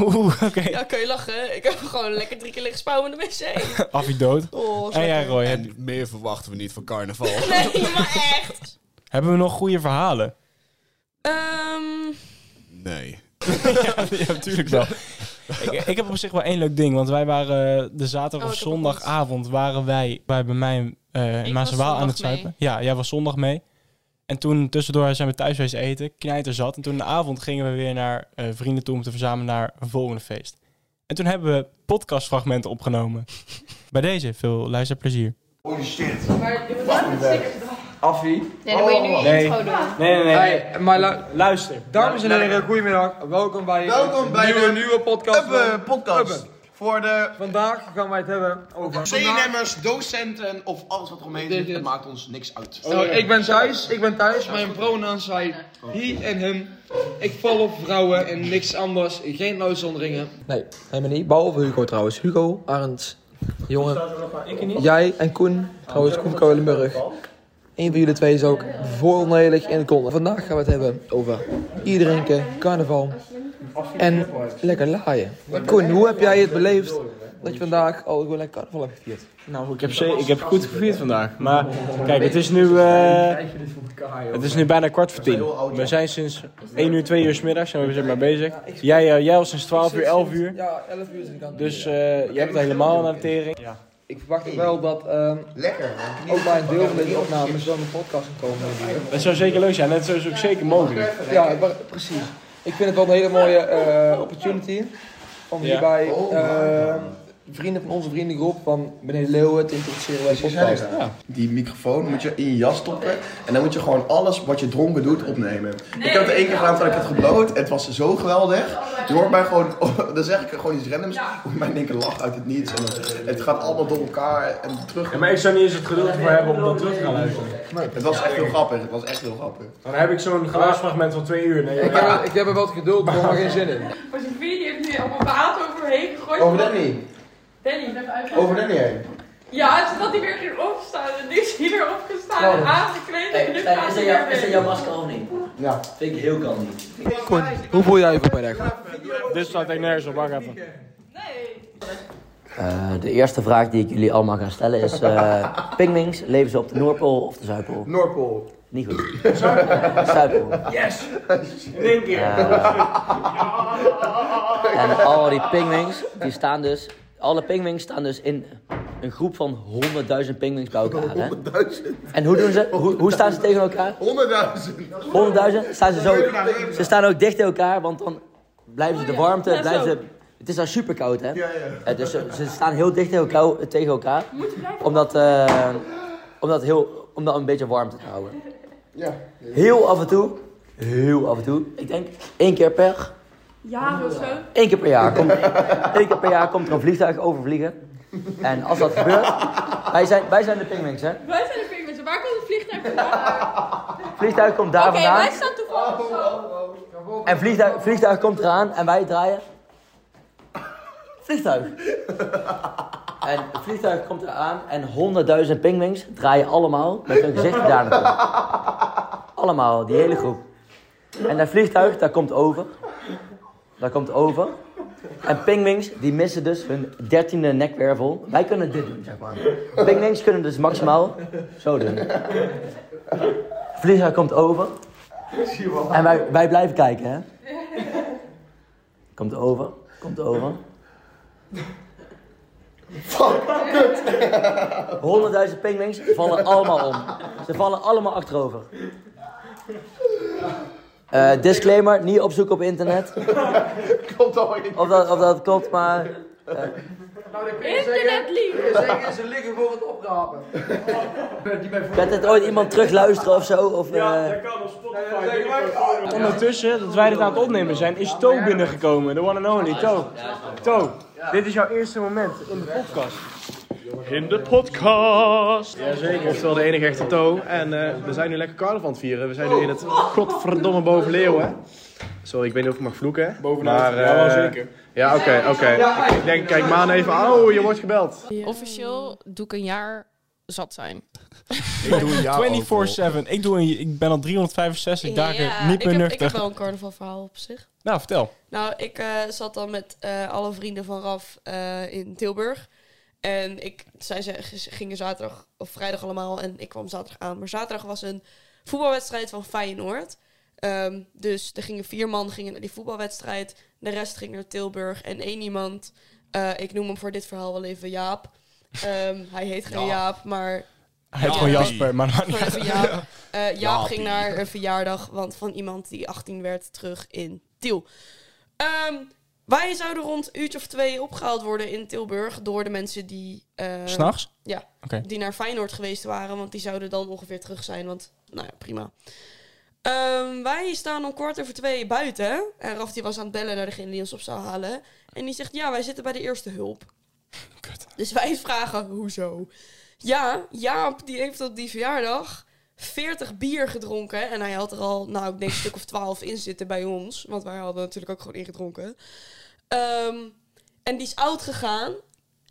S1: Oeh, oké.
S4: Ja, kun je lachen. hè? Ik heb gewoon lekker drie keer liggen spouwen in de wc.
S1: Affie dood.
S4: Oh,
S1: En jij
S4: lekker.
S1: Roy, heb-
S2: En meer verwachten we niet van carnaval.
S4: Nee, maar echt.
S1: hebben we nog goede verhalen?
S4: Ehm,
S2: Nee.
S1: ja, natuurlijk wel. ik, ik heb op zich wel één leuk ding. Want wij waren eh, de zaterdag
S5: Oh,
S1: of
S5: ik heb ook iets.
S1: zondagavond waren wij bij, bij mij eh in
S5: was
S1: Maasenwaal aan
S5: zondag
S1: het zuipen. Ja, jij was zondag mee. En toen tussendoor zijn we thuis geweest eten. Knijter zat. En toen in de avond gingen we weer naar eh, vrienden toe om te verzamelen naar een volgende feest. En toen hebben we podcastfragmenten opgenomen. bij deze, veel luisterplezier.
S6: Holy shit. Affie.
S5: Nee, dan moet je nu je
S1: Nee.
S5: intro doen.
S1: Nee, nee,
S6: Hey, Eh, maar lu-
S1: Luister.
S6: dames en heren, goedemiddag. Welkom bij
S7: Welkom
S6: een
S7: bij
S6: nieuwe,
S7: de
S6: nieuwe podcast. van
S7: Uppen podcast.
S6: Uppen.
S7: Voor de
S6: Vandaag gaan wij het hebben over...
S7: zeenemers, docenten of alles wat eromheen
S6: Dit-
S7: zit.
S6: dit.
S7: Het maakt ons niks uit.
S6: Oh, ik ben thuis, ik ben thuis. Mijn pronouns zijn hij en hem. Ik val op vrouwen en niks anders. Geen uitzonderingen.
S8: Nee, helemaal niet. Behalve Hugo trouwens. Hugo, Arends, jongen. Jij en Koen, trouwens Koen Kolenburg. Eén van jullie twee is ook volledig in de kon. Vandaag gaan we het hebben over iedrinken, carnaval en lekker laaien. Koen, hoe heb jij het beleefd dat je vandaag al gewoon lekker carnaval hebt gevierd?
S1: Nou, ik heb, ze- ik heb goed gevierd vandaag. Maar kijk, het is nu, eh, het is nu bijna kwart voor tien. We zijn sinds 1 uur, 2 uur 's middags zijn we zeg maar bezig. Jij, eh, jij was sinds 12 uur, 11 uur.
S6: Ja, 11 uur is het kant.
S1: Dus eh, jij hebt helemaal een tering.
S6: Ik verwacht wel dat
S8: eh,
S6: ehm, ook bij een deel van deze opnames wel een podcast kan komen. natuurlijk.
S1: Dat zou zeker leuk zijn. Dat is ook zeker mogelijk.
S6: Ja, wa- precies. Ik vind het wel een hele mooie eh, opportunity om
S1: Ja.
S6: hierbij eh,
S8: ehm, vrienden van onze vriendengroep van beneden Leeuwen te introduceren bij de podcast.
S7: Die microfoon moet je in je jas stoppen. En dan moet je gewoon alles wat je dronken doet opnemen. Ik heb het één keer gedaan toen ik het gebloot. Het was zo geweldig. Je hoort mij gewoon, dan zeg ik gewoon iets randoms. Hoor mij denken lach uit het niets. En het- het gaat allemaal door elkaar en terug.
S9: Maar ik zou niet eens het geduld voor hebben om dat terug te gaan luisteren.
S7: Het was echt heel grappig. Het was echt heel grappig.
S9: Dan heb ik zo'n geluidsfragment van twee uur. Nee,
S8: Ik heb, er- ik heb er wel het geduld voor, maar geen zin in.
S10: Maar Sofie die heeft nu allemaal water overheen gegooid.
S7: Over Danny.
S10: Danny.
S7: Over Danny heen.
S10: Ja, zodat hij weer ging opstaan. En nu is hij weer opgestaan en aangekleed. En nu gaat hij weer weg.
S3: masker of niet?
S7: Ja.
S3: Vind ik heel kandig.
S8: Koen, hoe voel jij je vanmiddag?
S9: dit staat echt nergens op. Wacht even.
S10: Nee.
S3: Eh, de eerste vraag die ik jullie allemaal ga stellen is... eh pingwings, leven ze op de Noordpool of de Zuidpool?
S7: Noordpool.
S3: Niet goed. Zuidpool. Eh,
S9: Yes! In één keer.
S3: En al die pingwings, die staan dus... Alle pingwings staan dus in een groep van 100.000 pingwings bij elkaar. Hè?
S7: Duizend.
S3: En hoe doen ze? Hoe, hoe staan ze tegen elkaar?
S7: Honderdduizend.
S3: 100.000 staan ze zo. Ze staan ook dicht tegen elkaar, want dan blijven
S10: Oh
S3: ze de warmte. Blijven ze, het is daar super koud, hè? Eh, dus ze, ze staan heel dicht tegen elkaar. Tegen elkaar omdat, eh, omdat, heel, omdat een beetje warmte te houden.
S7: Ja.
S3: Heel af en toe, heel af en toe, ik denk één keer per,
S10: Ja, of zo.
S3: één keer per jaar. Komt, één keer per jaar komt er een vliegtuig overvliegen. En als dat gebeurt, wij zijn, wij zijn de pingwings, hè?
S10: Wij zijn de pingwins. Waar komt het vliegtuig vandaan?
S3: Vliegtuig komt daar
S10: Oké,
S3: vandaan.
S10: wij staan toevallig zo.
S3: En vliegtuig, vliegtuig komt eraan en wij draaien. Vliegtuig. En het vliegtuig komt eraan en honderdduizend pingwings draaien allemaal met hun gezicht daar naartoe. Allemaal, die hele groep. En dat vliegtuig, daar komt over. Daar komt over. En pingwings, die missen dus hun dertiende nekwervel. Wij kunnen dit doen, zeg maar. Pingwings kunnen dus maximaal zo doen. Vliegtuig komt over. En wij, wij blijven kijken, hè? Komt over, komt over. Fuck, kut! 100.000 pingwings vallen allemaal om. Ze vallen allemaal achterover. Eh, disclaimer, niet opzoeken op internet.
S7: Komt al in.
S3: Of dat, of dat klopt, maar...
S10: Internet lief.
S8: Zeggen ze liggen voor het oprapen.
S3: Gaat dit ooit iemand terugluisteren of zo? Of, eh,
S9: kan op Spotify. Ondertussen, dat wij dit aan het opnemen zijn, is To binnengekomen. The one and only, To. To, dit is jouw eerste moment in de podcast.
S11: In de podcast. Jazeker, oftewel de enige echte To. En eh, we zijn nu lekker carnaval aan het vieren. We zijn nu in het godverdomme boven Leeuwen. Sorry, ik weet niet of ik mag vloeken. Bovenaan. Maar, ja, zeker. Ja, oké, oké. Ik denk, kijk Maan even aan. Oh, je wordt gebeld.
S5: Officieel doe ik een jaar zat zijn.
S2: Ik doe een jaar
S1: 24-7. Ik, doe een- ik ben al 365 dagen
S4: Ja,
S1: niet
S4: ik
S1: meer
S4: heb, ik heb
S1: nuchter.
S4: wel een carnavalverhaal op zich.
S1: Nou, vertel.
S4: Nou, ik eh, zat dan met eh, alle vrienden van Raf eh, in Tilburg. En ik, zij ze, gingen zaterdag of vrijdag allemaal en ik kwam zaterdag aan. Maar zaterdag was een voetbalwedstrijd van Feyenoord. Ehm, dus er gingen vier man gingen naar die voetbalwedstrijd. De rest ging naar Tilburg. En één iemand, eh, ik noem hem voor dit verhaal wel even Jaap. Ehm, hij heet geen Jaap, maar
S1: Hij heet gewoon Jasper, maar dat maakt niet
S4: voor
S1: uit.
S4: even Jaap. Eh, Jaap ging naar een verjaardag want van iemand die 18 werd terug in Tiel. Ehm, wij zouden rond een uurtje of twee opgehaald worden in Tilburg door de mensen die, eh,
S1: S'nachts?
S4: Ja.
S1: Oké.
S4: die naar Feyenoord geweest waren. Want die zouden dan ongeveer terug zijn. Want, nou ja, prima. Ehm, wij staan om kwart over twee buiten. En Raf die was aan het bellen naar degene die ons op zou halen. En die zegt, ja, wij zitten bij de eerste hulp.
S1: Kut.
S4: Dus wij vragen, hoezo? Ja, Jaap die heeft op die verjaardag 40 bier gedronken. En hij had er al, nou, ik denk een stuk of 12 in zitten bij ons. Want wij hadden natuurlijk ook gewoon ingedronken. Ehm, en die is oud gegaan.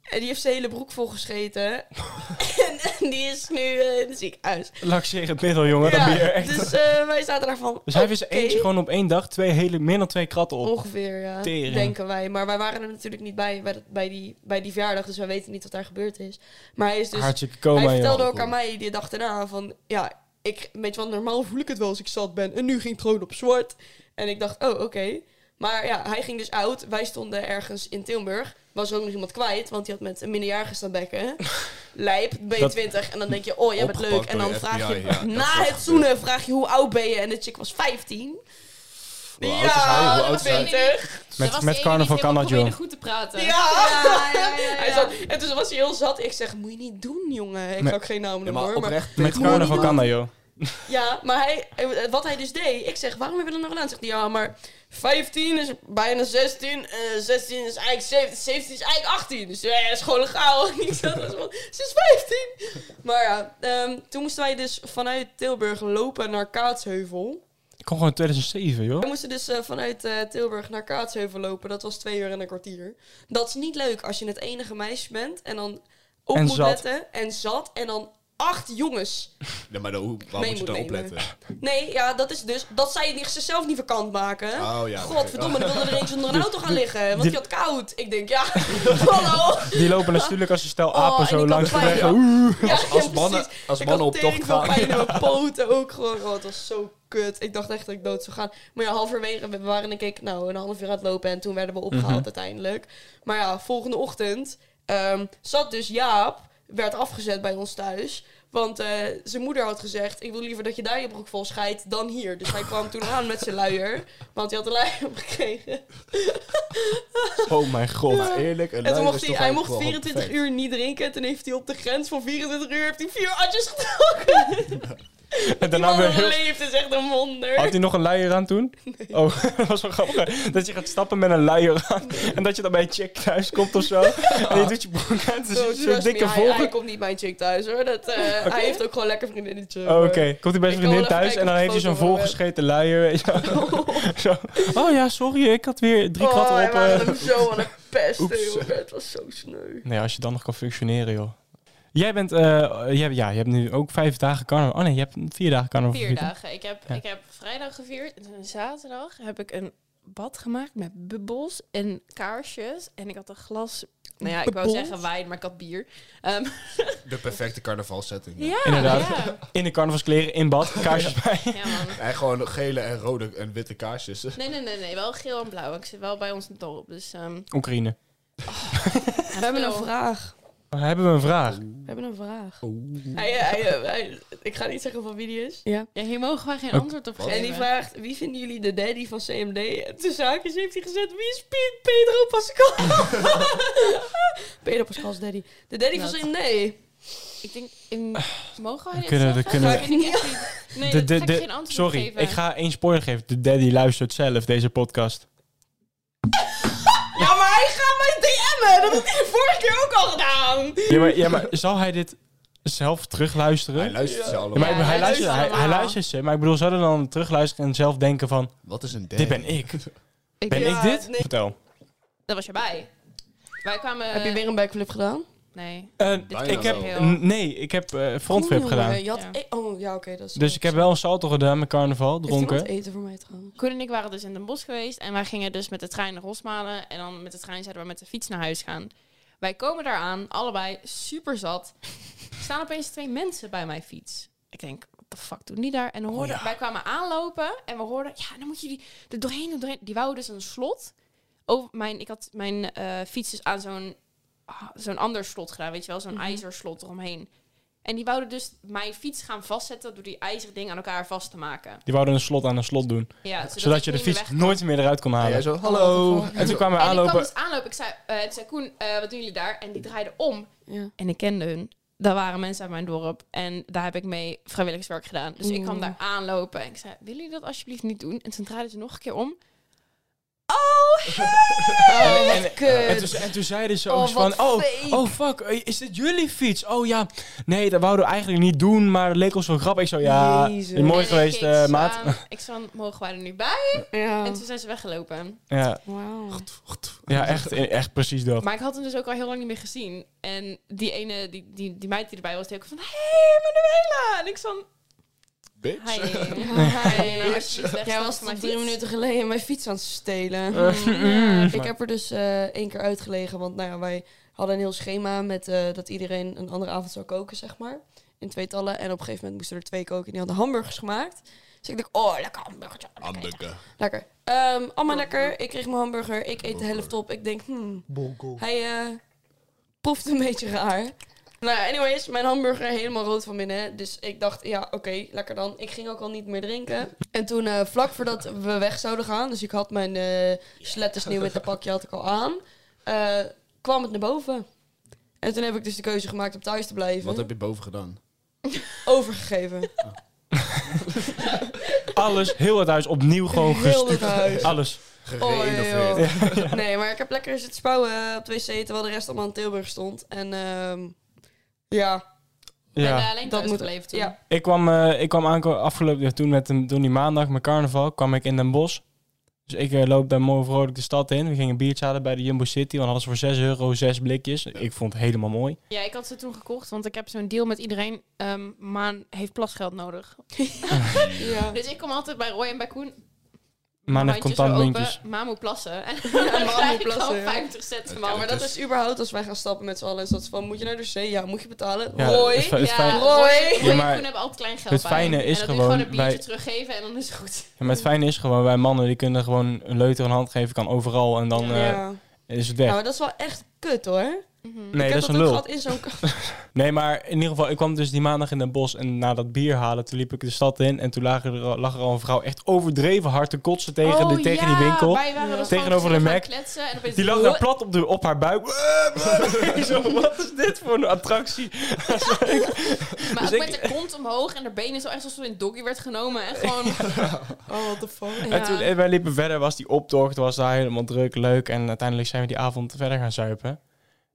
S4: En die heeft zijn hele broek volgescheten. en, en die is nu eh, in het ziekenhuis.
S1: Laxerend middel, jongen. Dat bier echt.
S4: dus eh, wij zaten daar van...
S1: Dus hij heeft in zijn
S4: oké.
S1: eentje gewoon op één dag twee hele, meer dan twee kratten op.
S4: Ongeveer, ja.
S1: Tering.
S4: Denken wij. Maar wij waren er natuurlijk niet bij, bij, dat- bij, die, bij die verjaardag. Dus wij weten niet wat daar gebeurd is. Maar hij is dus...
S1: Hartstikke coma,
S4: hij vertelde
S1: joh.
S4: ook aan mij die dag daarna van... Ja, ik, weet je wat, normaal voel ik het wel als ik zat ben. En nu ging het gewoon op zwart. En ik dacht, oh, oké. Maar ja, hij ging dus oud. Wij stonden ergens in Tilburg. Was er ook nog iemand kwijt, want die had met een minderjarige staan bekken. Lijp, ben je
S1: Dat-
S4: 20. En dan denk je, oh, jij bent
S2: Opgepakt
S4: leuk. En
S2: door
S4: dan
S2: de
S4: vraag
S2: FBI,
S4: je,
S2: ja, dat is
S4: na
S2: wel
S4: het zoenen, vraag je hoe oud ben je. En de chick was 15.
S2: Hoe oud is hij? Hoe oud is hij?
S1: Met- met carnaval kan dat, joh.
S5: goed te praten.
S4: Ja. Hij zat, en toen was hij heel zat. Ik zeg, moet je niet doen, jongen. Ik
S1: Nee.
S4: ga ook geen namen
S1: Ja,
S4: noemen
S1: maar
S4: hoor. Maar
S1: oprecht,
S4: moet
S1: met
S4: je niet
S1: carnaval
S4: doen.
S1: kan dat, joh.
S4: Ja, maar hij, eh, wat hij dus deed, ik zeg, waarom heb je dat nog gedaan? Zegt hij, ja, maar 15 is bijna 16, eh 16 is eigenlijk 17, 17 is eigenlijk 18. Dus ja, dat is gewoon legaal. En ik zat als van, ze is 15! Maar ja, ehm, toen moesten wij dus vanuit Tilburg lopen naar Kaatsheuvel.
S1: Ik kom gewoon 2007, joh.
S4: We moesten dus eh, vanuit eh, Tilburg naar Kaatsheuvel lopen. Dat was twee uur en een kwartier. Dat is niet leuk als je het enige meisje bent en dan op
S1: En
S4: moet
S1: zat.
S4: letten en zat en dan acht jongens.
S2: Ja, maar dan, hoe, waar
S4: Mee
S2: moet je dan
S4: moet nemen.
S2: opletten?
S4: Nee, ja, dat is dus dat zij die zichzelf niet verkant maken.
S2: Oh, ja,
S4: Godverdomme,
S2: oké. Dus
S4: dan wilde er eentje onder een auto gaan liggen, want
S1: die-
S4: die had koud. Ik denk, ja, hallo.
S1: Die lopen natuurlijk als je stel apen
S4: Oh, en ik
S1: zo
S4: had
S1: langs de
S4: pijn.
S1: weg. Oeh.
S4: Ja,
S2: Als, als mannen,
S4: precies.
S2: als
S4: Ik
S2: mannen op
S4: had
S2: tocht
S4: tering veel
S2: gaan.
S4: pijn in mijn poten ook gewoon. Oh, het was zo kut. Ik dacht echt dat ik dood zou gaan. Maar ja, halverwege, we waren denk ik nou een half uur aan het lopen en toen werden we opgehaald
S1: Mhm.
S4: uiteindelijk. Maar ja, volgende ochtend ehm, zat dus Jaap, werd afgezet bij ons thuis. Want eh, zijn moeder had gezegd, ik wil liever dat je daar je broek vol scheidt dan hier. Dus hij kwam toen aan met zijn luier, want hij had een luier opgekregen.
S1: Oh mijn god.
S2: Maar eerlijk, een
S4: En toen
S2: luier
S4: mocht
S2: is
S4: hij,
S2: toch
S4: hij
S2: eigenlijk
S4: mocht
S2: wel
S4: 24
S2: perfect?
S4: uur niet drinken. En toen heeft hij op de grens van 24 uur heeft hij vier atjes getrokken.
S1: En
S4: Die
S1: daarna
S4: man
S1: weer Nou, heel...
S4: overleeft is echt een wonder.
S1: Had hij nog een luier aan toen? Oh, dat was wel grappig. hè? Dat je gaat stappen met een luier aan. En dat je dan bij een chick thuis komt of zo. En je doet je broek aan. Het is
S4: Zo,
S1: zo'n
S4: trust me,
S1: dikke
S4: hij, hij
S1: volk.
S4: komt niet bij een chick thuis hoor. Dat, eh, Hij heeft ook gewoon lekker vriendinnetje.
S1: Oh, Oké,
S4: hoor.
S1: komt hij bij
S4: Ik
S1: zijn
S4: wil
S1: vriendin
S4: wel even
S1: thuis
S4: kijken
S1: en dan
S4: of
S1: heeft hij
S4: ik
S1: zo'n
S4: foto van hem
S1: volgescheten luier. weet je wel. Zo. Oh ja, sorry, ik had weer drie
S4: oh,
S1: kwatten
S4: hij
S1: op.
S4: waren
S1: eh.
S4: hem zo aan het pesten, joh. Het was zo sneu.
S1: Nee, als je dan nog kan functioneren, joh. Jij bent, eh, jij, ja, je hebt nu ook vijf dagen carnaval. Oh nee, je hebt vier dagen carnaval.
S5: Vier
S1: gevierd, hè?
S5: dagen. Ik heb,
S1: Ja.
S5: ik heb vrijdag gevierd en toen zaterdag heb ik een bad gemaakt met bubbels en kaarsjes. En ik had een glas, nou ja, ik wou
S1: Bubbels?
S5: zeggen wijn, maar ik had bier. Ehm,
S2: De perfecte carnavalsetting.
S5: ja,
S1: Inderdaad.
S5: ja.
S1: In de carnavalskleren, in bad, kaarsjes bij.
S5: Ja, man.
S2: En gewoon gele en rode en witte kaarsjes.
S5: Nee, nee, nee, nee, wel geel en blauw. Ik zit wel bij ons in het dorp, dus... ehm,
S1: Oekraïne.
S4: We hebben een vraag.
S1: Maar hebben we een vraag?
S4: We hebben een vraag.
S1: Oh.
S2: Oeh.
S4: Hij, eh, hij, eh, hij- ik ga niet zeggen van wie die is.
S5: Ja. hier mogen wij geen
S1: Ook- Oh.
S5: antwoord op geven.
S4: En die vraagt, wie vinden jullie de daddy van CMD? En tussen haakjes heeft hij gezet, wie is Piet? Pedro Pascal? Pedro Pascal's daddy. De daddy van
S5: Dat.
S4: CMD.
S5: Ik denk, in, mogen wij dit
S1: kunnen-
S5: zeggen?
S1: Ah. we kunnen-
S5: Ik weet niet echt wie- Nee,
S1: De-
S5: daar
S1: de-
S5: ga ik
S1: de-
S5: geen antwoord op
S1: sorry,
S5: geven.
S1: ik ga één spoiler geven. De daddy luistert zelf deze podcast.
S4: Ja, maar hij gaat mij DM'en. Dat had hij de vorige keer ook al gedaan.
S1: Ja, maar, ja, maar zal hij dit zelf terugluisteren?
S2: Hij luistert ze
S1: Ja, maar
S2: allemaal.
S1: ik bedoel, hij,
S5: hij
S1: luistert,
S5: luistert
S1: hij, hij
S5: allemaal.
S1: luistert ze, maar ik bedoel, zou er dan terugluisteren en zelf denken van,
S2: Wat is een ding?
S1: dit ben ik. Ben ik
S4: Ja,
S1: dit?
S4: eh, nee.
S1: Vertel.
S5: Daar was je bij. Wij kwamen...
S4: Heb je weer een backflip gedaan?
S5: Nee.
S1: Eh,
S2: Bijna
S1: ik heb,
S5: wel.
S1: n- nee, ik heb eh, frontflip
S4: Oeh,
S1: gedaan.
S4: Je had
S5: Ja.
S4: e- oh, ja, oké. dat is
S1: Dus ik heb wel een salto gedaan met carnaval,
S4: Heeft
S1: dronken.
S4: iemand eten voor mij trouwens?
S5: Koen en ik waren dus in Den Bosch geweest en wij gingen dus met de trein naar Rosmalen en dan met de trein zouden we met de fiets naar huis gaan. Wij komen daar aan, allebei super zat. Er staan opeens twee mensen bij mijn fiets. Ik denk, wat de fuck doen die daar? En dan hoorden, wij kwamen aanlopen en we hoorden, ja, dan moet je die er doorheen, er doorheen. Die wouden dus een slot. Over mijn, ik had mijn eh, fiets dus aan zo'n ah, zo'n ander slot gedaan, weet je wel, zo'n
S1: Mhm.
S5: ijzerslot eromheen. En die wouden dus mijn fiets gaan vastzetten door die ijzerding aan elkaar vast te maken.
S1: Die wouden een slot aan een slot doen.
S5: Ja, zodat,
S1: Zodat
S5: ik
S1: je de
S5: niet meer
S1: fiets
S5: weg kon.
S1: nooit meer eruit kon
S2: En jij
S1: halen.
S2: zo,
S1: En
S2: hallo.
S1: toen kwamen we
S5: En ik kwam
S1: aanlopen.
S5: dus aanlopen. Ik zei, eh, toen zei Koen, eh, wat doen jullie daar? En die draaide om.
S4: Ja.
S5: En ik kende hun. Daar waren mensen uit mijn dorp. En daar heb ik mee vrijwilligerswerk gedaan. Dus ik kwam daar aanlopen. En ik zei, willen jullie dat alsjeblieft niet doen? En toen draaide ze nog een keer om. Oh, hey!
S1: En- eh, en-
S4: wat kut.
S1: En toen, en toen zeiden ze ook
S4: Oh,
S1: eens van...
S4: wat
S1: Oh,
S4: fake.
S1: oh, fuck, eh, is dit jullie fiets? Oh ja, nee, dat wouden we eigenlijk niet doen, maar het leek ons wel grappig. Ik zo, ja,
S4: Jezus.
S1: is mooi
S5: En ik
S1: geweest,
S5: keek
S1: eh,
S5: ze
S1: maat. Oh.
S5: aan. Ik zei, mogen wij er nu bij?
S4: Ja.
S5: En toen zijn ze weggelopen.
S1: Ja,
S4: Wauw.
S1: ja echt, echt precies dat.
S5: Maar ik had hem dus ook al heel lang niet meer gezien. En die ene, die, die, die meid die erbij was, die ook van... Hé, hey, Manuela! En ik van...
S2: Bitch.
S5: Hi. Hi. alsjeblieft, weg,
S4: Jij
S5: stap
S4: was
S5: van mijn
S4: tot drie
S5: fiets.
S4: minuten geleden mijn fiets aan het
S1: Mm.
S4: stelen.
S5: Ja.
S4: Ik heb er dus eh, één keer uitgelegen, want nou ja, wij hadden een heel schema met eh, dat iedereen een andere avond zou koken, zeg maar. In tweetallen. En op een gegeven moment moesten er twee koken en die hadden hamburgers gemaakt. Dus ik dacht, oh, lekker hamburgertje. lekker eten.
S2: Ambukke.
S4: Lekker. Ehm, allemaal lekker. Ik kreeg mijn hamburger. Ik eet de helft op. Ik denk, hmm. Hij eh proeft een beetje raar. Nou ja, anyways, mijn hamburger helemaal rood van binnen. Dus ik dacht, ja, oké, lekker dan. Ik ging ook al niet meer drinken. En toen, eh, vlak voordat we weg zouden gaan, dus ik had mijn eh slettensneeuw met een pakje had ik al aan, eh, kwam het naar boven. En toen heb ik dus de keuze gemaakt om thuis te blijven.
S2: Wat heb je boven gedaan?
S4: Overgegeven.
S1: Alles, heel het huis opnieuw gewoon
S4: Heel
S1: gest-
S4: het huis.
S1: Alles.
S4: Oh, joh. Nee, maar ik heb lekker zitten spouwen eh, op de wc, terwijl de rest allemaal in Tilburg stond. En ehm, ja,
S5: Ja.
S1: Ja.
S5: alleen
S4: Dat
S5: thuis
S4: moet-
S5: gebleven toen.
S4: ja.
S1: Ik kwam, eh, ik kwam aanko- afgelopen ja, toen met een, toen die maandag, mijn carnaval, kwam ik in Den Bosch. Dus ik eh, loop daar mooi vrolijk de stad in. We gingen een biertje halen bij de Jumbo City. Want hadden ze voor 6 euro 6 blikjes. Ik vond het helemaal mooi.
S5: Ja, ik had ze toen gekocht, want ik heb zo'n deal met iedereen. ehm Maan heeft plasgeld nodig.
S4: ja.
S5: Dus ik kom altijd bij Roy en bij Koen.
S1: Maar net
S5: handjes
S1: contant
S5: zo
S1: muntjes.
S5: open, Maan moet plassen. En dan
S4: Maan
S5: krijg
S4: moet
S5: ik
S4: plassen,
S5: gewoon
S4: ja.
S5: 50 cent van
S4: Ja,
S5: Maan.
S4: maar
S1: Dus-
S4: dat is überhaupt als wij gaan stappen met z'n allen. Is dat van, moet je naar de zee? Ja, moet je betalen?
S1: Ja,
S4: Hoi.
S1: is- is
S5: Ja,
S1: fijn.
S5: Roy,
S4: Roy.
S5: Roy
S1: Ja, maar
S5: en Koen hebben altijd klein geld
S1: het
S5: bij.
S1: fijne
S5: En
S1: is
S5: dat
S1: gewoon,
S5: gewoon een biertje
S1: wij-
S5: teruggeven en dan is het goed.
S1: Ja, maar het fijne is gewoon, wij mannen die kunnen gewoon een leuter een hand geven. Kan overal en dan eh,
S4: Ja.
S1: is het weg.
S4: Nou, maar dat is wel echt kut hoor.
S1: Nee,
S4: ik
S1: dat
S4: heb
S1: is een
S4: ook
S1: lul.
S4: gehad in zo'n ka-
S1: Nee, maar in ieder geval, ik kwam dus die maandag in Den Bosch en na dat bier halen, toen liep ik de stad in en toen lag er, lag er al een vrouw echt overdreven hard te kotsen tegen, de,
S5: Oh,
S1: tegen
S5: ja,
S1: die winkel.
S5: wij waren dus
S1: Tegenover
S5: gewoon
S1: de
S5: gaan
S1: Mac.
S5: kletsen en opeens-
S1: Die lag daar plat op, de, op haar buik. Ik zo, wat is dit voor een attractie?
S5: Maar
S1: Dus
S5: ook
S1: ik-
S5: met de kont omhoog en de benen zo echt alsof ze in doggy werd genomen. En gewoon...
S4: oh, what the fuck.
S1: En toen en wij liepen verder, was die optocht, was daar helemaal druk, leuk. En uiteindelijk zijn we die avond verder gaan zuipen.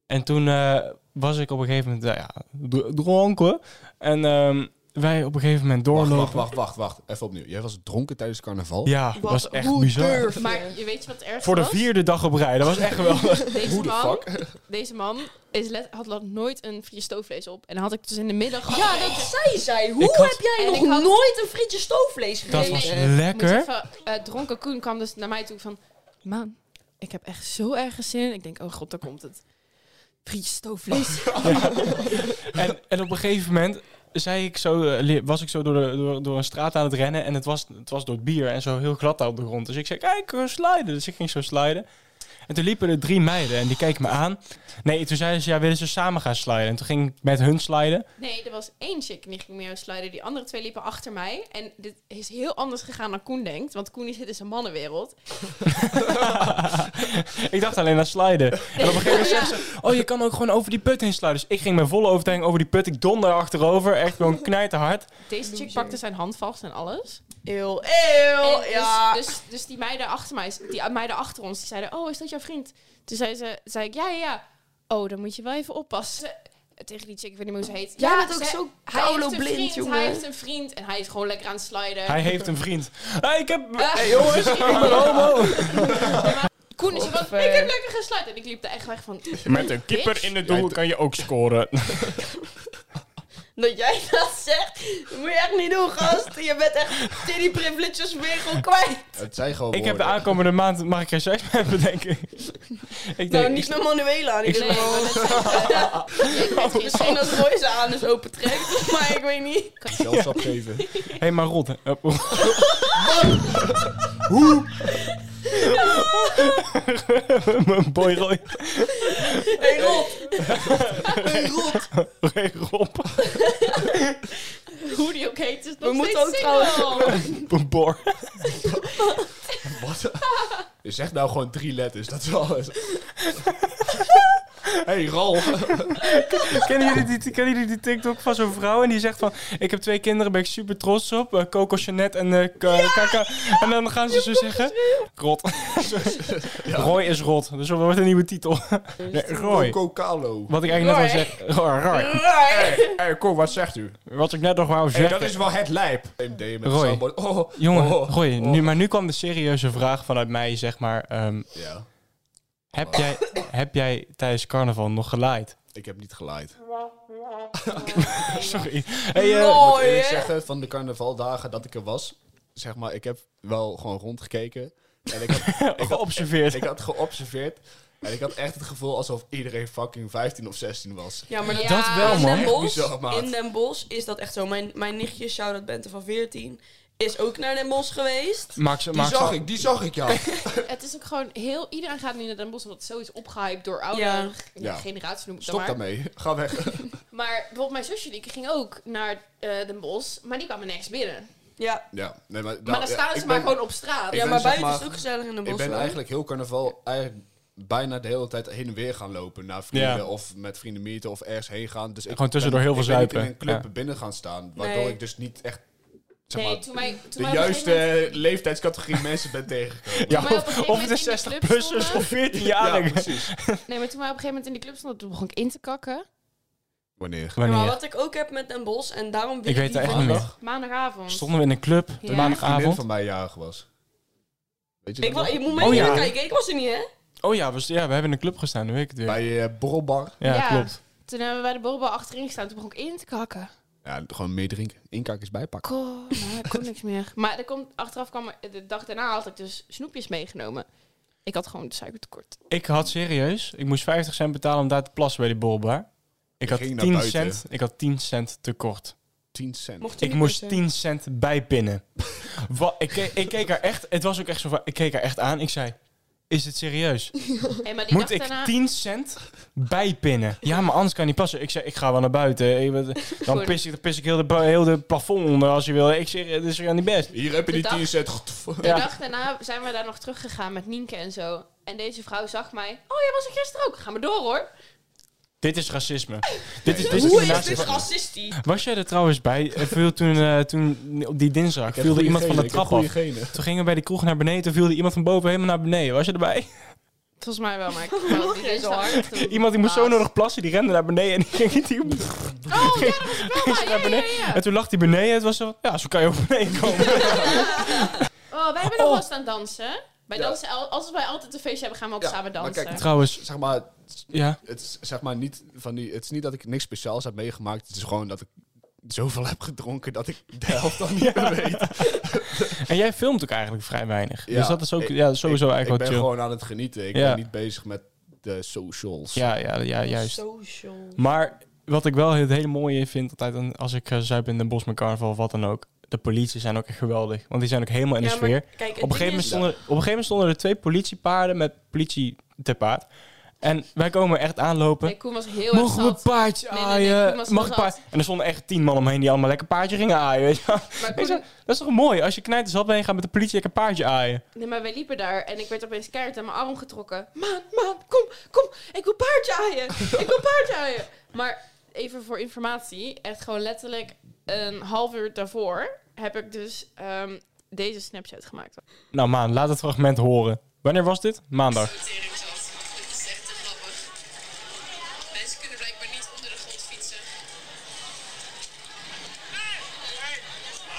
S1: En toen eh, was ik op een gegeven moment, nou ja, dr- dronken. En ehm, wij op een gegeven moment
S2: Wacht,
S1: doorlopen.
S2: wacht, wacht, wacht, wacht. Even opnieuw. Jij was dronken tijdens carnaval?
S1: Ja, Wat- was echt hoe bizar. durf je?
S5: Maar je weet je wat erg
S1: Voor de
S5: was?
S1: vierde dag op rij, dat was echt geweldig.
S5: Deze
S1: Hoe de
S5: man, deze man is let, had nog nooit een frietje stoofvlees op. En dan had ik dus in de middag...
S4: Ja, dat zei zij. Hoe
S5: had-
S4: heb jij
S5: en
S4: nog
S5: ik had-
S4: nooit een frietje stoofvlees
S1: Dat
S4: gegeten?
S1: was
S5: Moet je
S1: lekker.
S5: even, eh, dronken Koen kwam dus naar mij toe van... Man, ik heb echt zo ergens zin in." Ik denk, oh god, daar komt het. Frietje stoofvlees.
S1: En, en op een gegeven moment zei ik zo, eh, li- was ik zo door, de, door, door een straat aan het rennen. En het was, het was door het bier en zo heel glad daar op de grond. Dus ik zei, kijk, eh, sliden. Dus ik ging zo sliden. En toen liepen er drie meiden en die keken me aan. Nee, toen zeiden ze, ja, willen ze samen gaan sliden? En toen ging ik met hun sliden.
S5: Nee, er was één chick die ging meer sliden. Die andere twee liepen achter mij. En dit is heel anders gegaan dan Koen denkt. Want Koen zit in zijn mannenwereld.
S1: Ik dacht alleen aan sliden. En op een gegeven moment zeggen ze, oh, je kan ook gewoon over die put heen sliden. Dus ik ging met volle overtuiging over die put. Ik donder achterover, echt gewoon knijterhard.
S5: Deze chick pakte zijn hand vast en alles.
S4: Eeuw,
S5: En
S4: eeuw,
S5: dus,
S4: Oh, ja.
S5: Dus, dus die meiden achter mij, die meiden achter ons, die zeiden, oh, is dat jouw vriend? Toen zei, ze, zei ik, ja, ja, ja. Oh, dan moet je wel even oppassen. Tegen die chick, ik weet niet hoe ze heet.
S4: Jij
S5: ja,
S4: bent ook
S5: ze-
S4: zo
S5: hij heeft een
S4: kouloblind,
S5: vriend,
S4: jongen.
S5: Hij heeft een vriend en hij is gewoon lekker aan het sliden.
S1: Hij heeft een vriend. Hey, ik heb...
S5: Ja.
S1: Hey, jongens, ik ben homo.
S5: Koen is van, ik
S4: Godver.
S5: heb lekker gesliden. En ik liep daar echt weg van...
S1: Met een keeper in het doel kan je ook scoren.
S4: Dat jij dat zegt, dat moet je echt niet doen, gast. Je bent echt titty privileges weer gewoon kwijt.
S2: Het zijn gewoon
S1: Ik heb de
S2: woorden.
S1: aankomende maand mag ik geen seks meer hebben, denk ik. ik
S4: Nou,
S1: denk,
S4: niet met Manuela in
S1: ik-
S4: ieder geval. Misschien als Roy ze aan is opentrekt, maar ik weet niet.
S2: Zelfs opgeven.
S1: Hé, hey, maar rot. hè. Oh. Hup. Hoe? Mijn boy Roy.
S4: Hey Rob! Hey Rob!
S1: Roy Rob.
S5: Hoe die ook heet, is nog
S4: We moeten
S5: steeds
S4: ook trouwens-
S5: single.
S1: Boor.
S2: Wat? Je zegt nou gewoon drie letters, dat is alles. hey, Ralf.
S1: Kennen jullie, die, kennen jullie die TikTok van zo'n vrouw? En die zegt van... Ik heb twee kinderen, ben ik super trots op. Eh, Coco Chanette en eh, K- Kaka. En dan gaan ze zo zeggen... Rot. Roy is rot. Dus dat wordt een nieuwe titel. Nee, Roy.
S2: Coco Calo.
S1: Wat ik eigenlijk net al
S4: Roy.
S1: zeg... Roy, Roy.
S4: Roy!
S2: hey, kom, wat zegt u?
S1: Wat ik net nog wou
S2: Hey,
S1: zeggen...
S2: dat is wel het lijp. MD met
S1: Roy.
S2: soundboard. Oh,
S1: Jongen,
S2: oh,
S1: Roy,
S2: oh.
S1: Nu, maar nu kwam de serieuze vraag vanuit mij, zeg maar. ehm,
S2: Ja,
S1: heb, jij, heb jij tijdens carnaval nog gelaaid?
S2: ik heb niet gelaaid.
S1: Sorry. Hey, eh,
S4: Roy,
S2: Ik
S4: hè?
S2: zeg van de carnavaldagen dat ik er was, zeg maar, ik heb wel gewoon rondgekeken. En ik had, ik had,
S1: geobserveerd.
S2: ik had geobserveerd. En ik had echt het gevoel alsof iedereen fucking 15 of 16 was.
S4: Ja, eh, maar dat,
S1: Dat wel, man.
S4: In Den, Bosch,
S2: Bizar, maat.
S4: in Den Bosch is dat echt zo. Mijn, mijn nichtje, shout-out Bente van 14. is ook naar Den Bosch geweest.
S1: Max,
S2: Die zag ik, die zag ik, ja.
S5: Het is ook gewoon heel... Iedereen gaat nu naar Den Bosch omdat het zo is opgehyped door oude
S4: Ja.
S2: Ja.
S5: generaties. Noem ik
S2: Stop
S5: dan maar.
S2: daarmee. Ga weg.
S5: Maar bijvoorbeeld mijn zusje die ging ook naar eh, Den Bosch. Maar die kwam er niks binnen.
S4: Ja.
S2: Nou, Ja, nee, maar,
S5: maar dan staan ze maar gewoon op straat.
S2: ik
S4: ja,
S2: ben,
S4: maar
S2: zeg
S4: buiten
S2: maar-
S4: is het ook gezellig in Den Bosch.
S2: Ik ben
S4: hoor.
S2: eigenlijk heel carnaval eigenlijk bijna de hele tijd heen en weer gaan lopen. Naar vrienden
S1: Ja.
S2: of met vrienden meeten of ergens heen gaan. Dus ik
S1: Gewoon tussendoor heel
S2: ben-
S1: veel
S2: ik ben niet
S1: zuipen.
S2: in een club
S1: Ja.
S2: binnen gaan staan. Waardoor
S4: Nee.
S2: ik dus niet echt zeg
S5: Nee,
S2: maar,
S5: toen wij, toen wij op een
S2: de
S5: gegeven
S2: juiste
S5: moment-
S2: leeftijdscategorie mensen ben tegengekomen.
S1: Ja,
S5: Maar op een
S1: of,
S5: gegeven
S1: of
S5: moment
S1: het is
S5: in die
S1: 60
S5: club
S1: plussers
S5: stonden-
S1: of 14
S2: Ja,
S1: jaar.
S2: precies.
S5: Nee, maar toen wij op een gegeven moment in de club stonden, toen begon ik in te kakken.
S2: Wanneer?
S4: Ja, maar
S1: Wanneer?
S4: wat ik ook heb met Den Bosch, en daarom
S1: Ik weet het echt niet
S4: niet.
S1: meer.
S5: Maandagavond.
S1: Stonden we in een club,
S5: Ja.
S2: Een vriendin
S1: maandagavond.
S2: van mij jarig was. Weet je
S4: Ik,
S2: dat nog?
S4: wa- je moet
S1: Oh,
S4: mij
S1: ja.
S4: niet kijken, ik was er niet, hè?
S1: Oh ja, we, st- ja, we hebben in een club gestaan, nu weet ik het weer.
S2: Bij eh, Borrelbar.
S1: ja,
S5: Ja.
S1: klopt.
S5: Toen hebben we bij de borrelbal achterin gestaan, toen begon ik in te kakken.
S2: Ja, gewoon meer drinken. Inkak is bijpakken.
S5: Kom, nou, ik kon niks meer. Maar er komt, achteraf kwam er- de dag daarna had ik dus snoepjes meegenomen. Ik had gewoon suikertekort.
S1: Ik had serieus, ik moest 50 cent betalen om daar te plassen bij die borrelbar. Ik
S2: Je
S1: had,
S2: ging
S1: 10
S2: naar buiten.
S1: cent, ik had 10 cent tekort.
S2: 10 cent.
S4: Mocht u
S1: Ik
S4: niet
S1: moest
S4: kussen.
S1: 10 cent bijpinnen. Wat, ik, ke- ik keek haar echt, het was ook echt zo van, ik keek haar echt aan. Ik zei, is het serieus?
S5: En maar die
S1: Moet
S5: dag
S1: ik
S5: daarna,
S1: 10 cent bijpinnen? Ja, maar anders kan niet passen. Ik zei, ik ga wel naar buiten. Ik weet- Dan
S5: Sorry.
S1: pis ik, dan pis ik heel, de, ba- heel de plafond onder als je wil. Ik zeg, het is gewoon niet best.
S2: Hier heb je
S5: De
S2: die
S5: dag-
S2: 10 cent. Godver-
S5: de
S1: Ja.
S5: dag daarna zijn we daar nog teruggegaan met Nienke en zo. En deze vrouw zag mij. Oh, jij was er gisteren ook. Ga maar door hoor.
S1: Dit is racisme. dit is
S4: Hoe is
S1: discriminatie.
S4: dit racistisch?
S1: Was jij er trouwens bij? Eh, Viel toen, eh, toen op die dinsdag
S2: Ik
S1: viel
S2: heb
S1: er
S2: goede
S1: iemand van
S2: genen,
S1: de
S2: ik
S1: trap
S2: heb goede
S1: af.
S2: genen.
S1: Toen gingen we bij die kroeg naar beneden. Toen viel er iemand van boven helemaal naar beneden. Was je erbij?
S5: Volgens mij wel, maar ik was niet eens zo hard. Toen-
S1: Iemand die moest zo
S5: Baas.
S1: nodig plassen, die rende naar beneden en die ging die
S5: Oh, ja, dat was
S1: naar
S5: ik wel bij. Ja, ja,
S1: beneden.
S5: ja, ja.
S1: En toen lag hij beneden. Het was zo, ja, zo kan je ook beneden komen.
S5: Oh, wij hebben nog wel eens aan dansen. Bij
S2: Ja.
S5: dansen, al- als wij altijd een feestje hebben, gaan we altijd
S2: Ja,
S5: samen
S2: maar
S5: dansen.
S2: kijk,
S1: Trouwens,
S2: Zeg maar,
S1: ja.
S2: het is, zeg maar niet van die, het is niet dat ik niks speciaals heb meegemaakt. Het is gewoon dat ik zoveel heb gedronken dat ik de helft dan niet meer weet.
S1: En jij filmt ook eigenlijk vrij weinig.
S2: Ja,
S1: dus dat is ook
S2: ik-
S1: ja, sowieso
S2: ik,
S1: eigenlijk
S2: ik
S1: wel
S2: ben
S1: chill.
S2: gewoon aan het genieten. Ik
S1: Ja.
S2: ben niet bezig met de socials.
S1: Ja, ja, ja, juist.
S4: Social.
S1: Maar wat ik wel het hele mooie vind altijd aan- als ik eh, zuip in Den Bosch met carnaval of wat dan ook. De politie zijn ook echt geweldig. Want die zijn ook helemaal in de
S4: Ja, maar
S1: sfeer.
S4: Kijk, het
S1: Op een, gegeven
S4: ding
S1: moment
S4: is-
S1: stonden, op een gegeven moment stonden er twee politiepaarden met politie te paard. En wij komen echt aanlopen.
S5: Nee, Koen was heel erg
S1: Mogen we
S5: zat.
S1: paardje
S5: Nee, nee, nee,
S1: aaien?
S5: Koen was
S1: Mag
S5: heel
S1: ik paard?
S5: zat.
S1: En er stonden echt tien man omheen die allemaal lekker paardje gingen aaien. Weet je? wel.
S5: Maar
S1: Ik zei,
S5: Koen,
S1: dat is toch mooi? Als je knijt zat ben je gaat met de politie lekker paardje aaien.
S5: nee, maar wij liepen daar en ik werd opeens keihard aan mijn arm getrokken. Maan, maan, kom, kom, ik wil paardje aaien. ik wil paardje aaien. Maar even voor informatie, echt gewoon letterlijk een half uur daarvoor heb ik dus ehm, deze Snapchat gemaakt.
S1: Nou Maan, laat het fragment horen. Wanneer was dit? Maandag.
S10: Het is echt te grappig. Mensen kunnen blijkbaar niet onder de grond fietsen.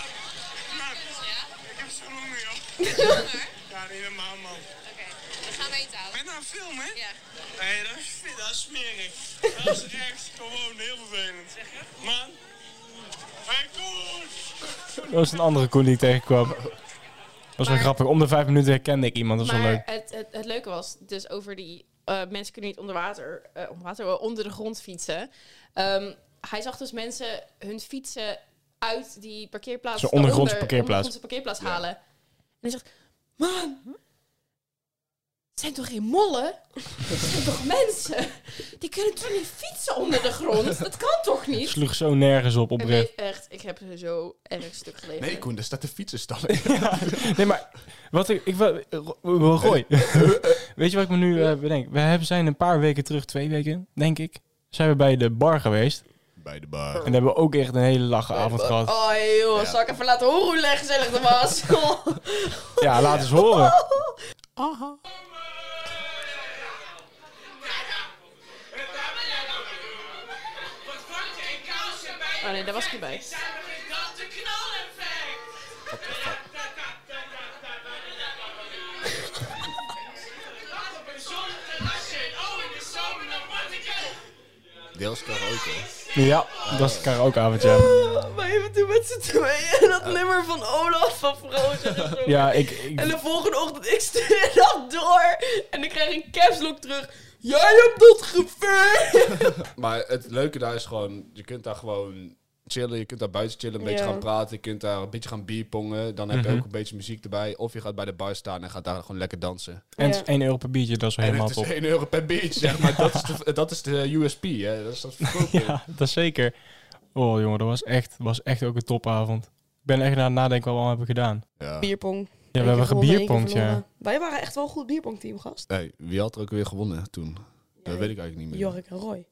S10: Ja? Ik heb zo'n honger, joh. Honger?
S9: Ja, helemaal man.
S10: Oké, we gaan eten houden.
S9: Ben je nou film, hè?
S10: Ja.
S9: Nee, dat is, dat is smerig. Dat is echt gewoon heel vervelend. Man. Hey, Koen!
S1: Dat was een andere koen die ik tegenkwam. Dat was wel
S5: Maar-
S1: grappig. Om de vijf minuten herkende ik iemand. Dat was wel
S5: Maar
S1: leuk.
S5: het, het, het leuke was dus over die eh, mensen kunnen niet onder water, eh, onder, water eh, onder de grond fietsen. Ehm, hij zag dus mensen hun fietsen uit die parkeerplaats,
S1: Zo'n ondergrondse
S5: daaronder-
S1: parkeerplaats.
S5: ondergrondse parkeerplaats halen. En hij zegt: Man, het zijn toch geen mollen? Het zijn toch mensen? Die kunnen toch niet fietsen onder de grond? Dat kan toch niet?
S1: Sloeg zo nergens op
S5: En
S1: oprecht.
S5: weet echt, ik heb zo erg stuk gelegen.
S2: Nee, Koen, daar staat de fietsenstal.
S1: Nee, maar wat ik, ik wil, wil gooi. Weet je wat ik me nu eh, bedenk? We hebben, zijn een paar weken terug, twee weken, denk ik, zijn we bij de bar geweest.
S2: Bij de bar.
S1: En daar hebben we ook echt een hele lache avond gehad.
S4: Oh joh,
S2: Ja.
S4: zal ik even laten horen hoe lekker gezellig dat was?
S1: Ja, laat eens horen.
S5: Oh nee, daar was ik niet bij.
S2: Deels karaoke.
S1: Ja, dat was de karaokeavond, ja.
S4: maar even toen met z'n tweeën en dat nummer van Olaf van Frozen. en zo.
S1: Ja, ik... ik
S4: En de volgende ochtend, ik stuur dat door en ik krijg een caps lock terug. Jij hebt dat gevecht!
S2: Maar het leuke daar is gewoon, je kunt daar gewoon chillen. Je kunt daar buiten chillen, een beetje
S5: Ja.
S2: gaan praten. Je kunt daar een beetje gaan bierpongen. Dan heb je
S1: Mhm.
S2: ook een beetje muziek erbij. Of je gaat bij de bar staan en gaat daar gewoon lekker dansen.
S1: En het is 1 euro per biertje, dat is wel
S2: En
S1: helemaal
S2: het is
S1: top.
S2: 1 euro per beach, zeg maar. Dat, is de, dat is de USP, hè. Dat is dat verkooppunt.
S1: Ja, dat is zeker. Oh jongen, dat was echt, was echt ook een topavond. Ik ben echt aan het nadenken wat we allemaal hebben gedaan.
S2: Ja.
S5: Bierpong.
S1: Ja, we hebben gebierpongd, ja.
S5: Wij waren echt wel een goed bierpongteam, gast.
S2: Hey, wie had er ook weer gewonnen toen? Dat weet ik eigenlijk niet meer.
S5: Jorik en Roy.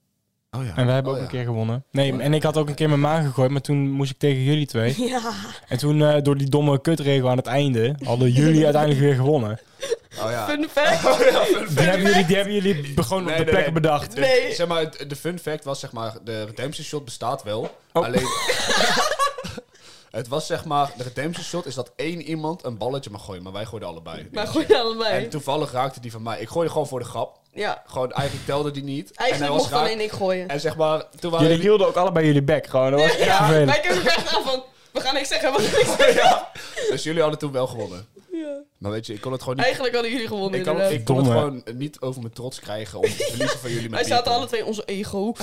S2: Oh ja.
S1: En wij hebben
S2: Oh
S1: ook
S2: ja.
S1: een keer gewonnen. Nee, en ik had ook een keer mijn maan gegooid, maar toen moest ik tegen jullie twee.
S5: Ja.
S1: En toen, eh, door die domme kutregel aan het einde, hadden jullie uiteindelijk weer gewonnen.
S2: Oh ja.
S5: Fun fact.
S1: Die hebben jullie, die hebben jullie be- gewoon op de plek bedacht.
S2: De, Dus Zeg maar, het- de fun fact was, zeg maar, de redemption shot bestaat wel.
S1: Oh.
S2: Alleen... het was, zeg maar, de redemption shot is dat één iemand een balletje mag gooien. Maar wij gooiden allebei.
S5: Maar gooiden allebei.
S2: En toevallig raakte die van mij. Ik gooide gewoon voor de grap.
S5: Ja.
S2: Gewoon, eigenlijk telde die niet. en hij
S5: Eigenlijk
S2: was
S5: mocht
S2: raak.
S5: alleen ik gooien.
S2: En zeg maar, toen waren
S1: Jullie hielden ook allebei jullie bek gewoon. Dat was echt
S5: Ja,
S1: vervelend.
S5: wij keken elkaar echt aan van, we gaan niks zeggen, we gaan niks zeggen.
S2: Dus jullie hadden toen wel gewonnen.
S5: Ja.
S2: Maar weet je, ik kon het gewoon niet...
S5: Eigenlijk hadden jullie gewonnen,
S2: Ik kon,
S5: inderdaad.
S2: ik kon het
S1: Domme.
S2: gewoon niet over mijn trots krijgen om te verliezen van jullie met
S5: Wij zaten
S2: bierpong.
S5: alle twee in onze ego.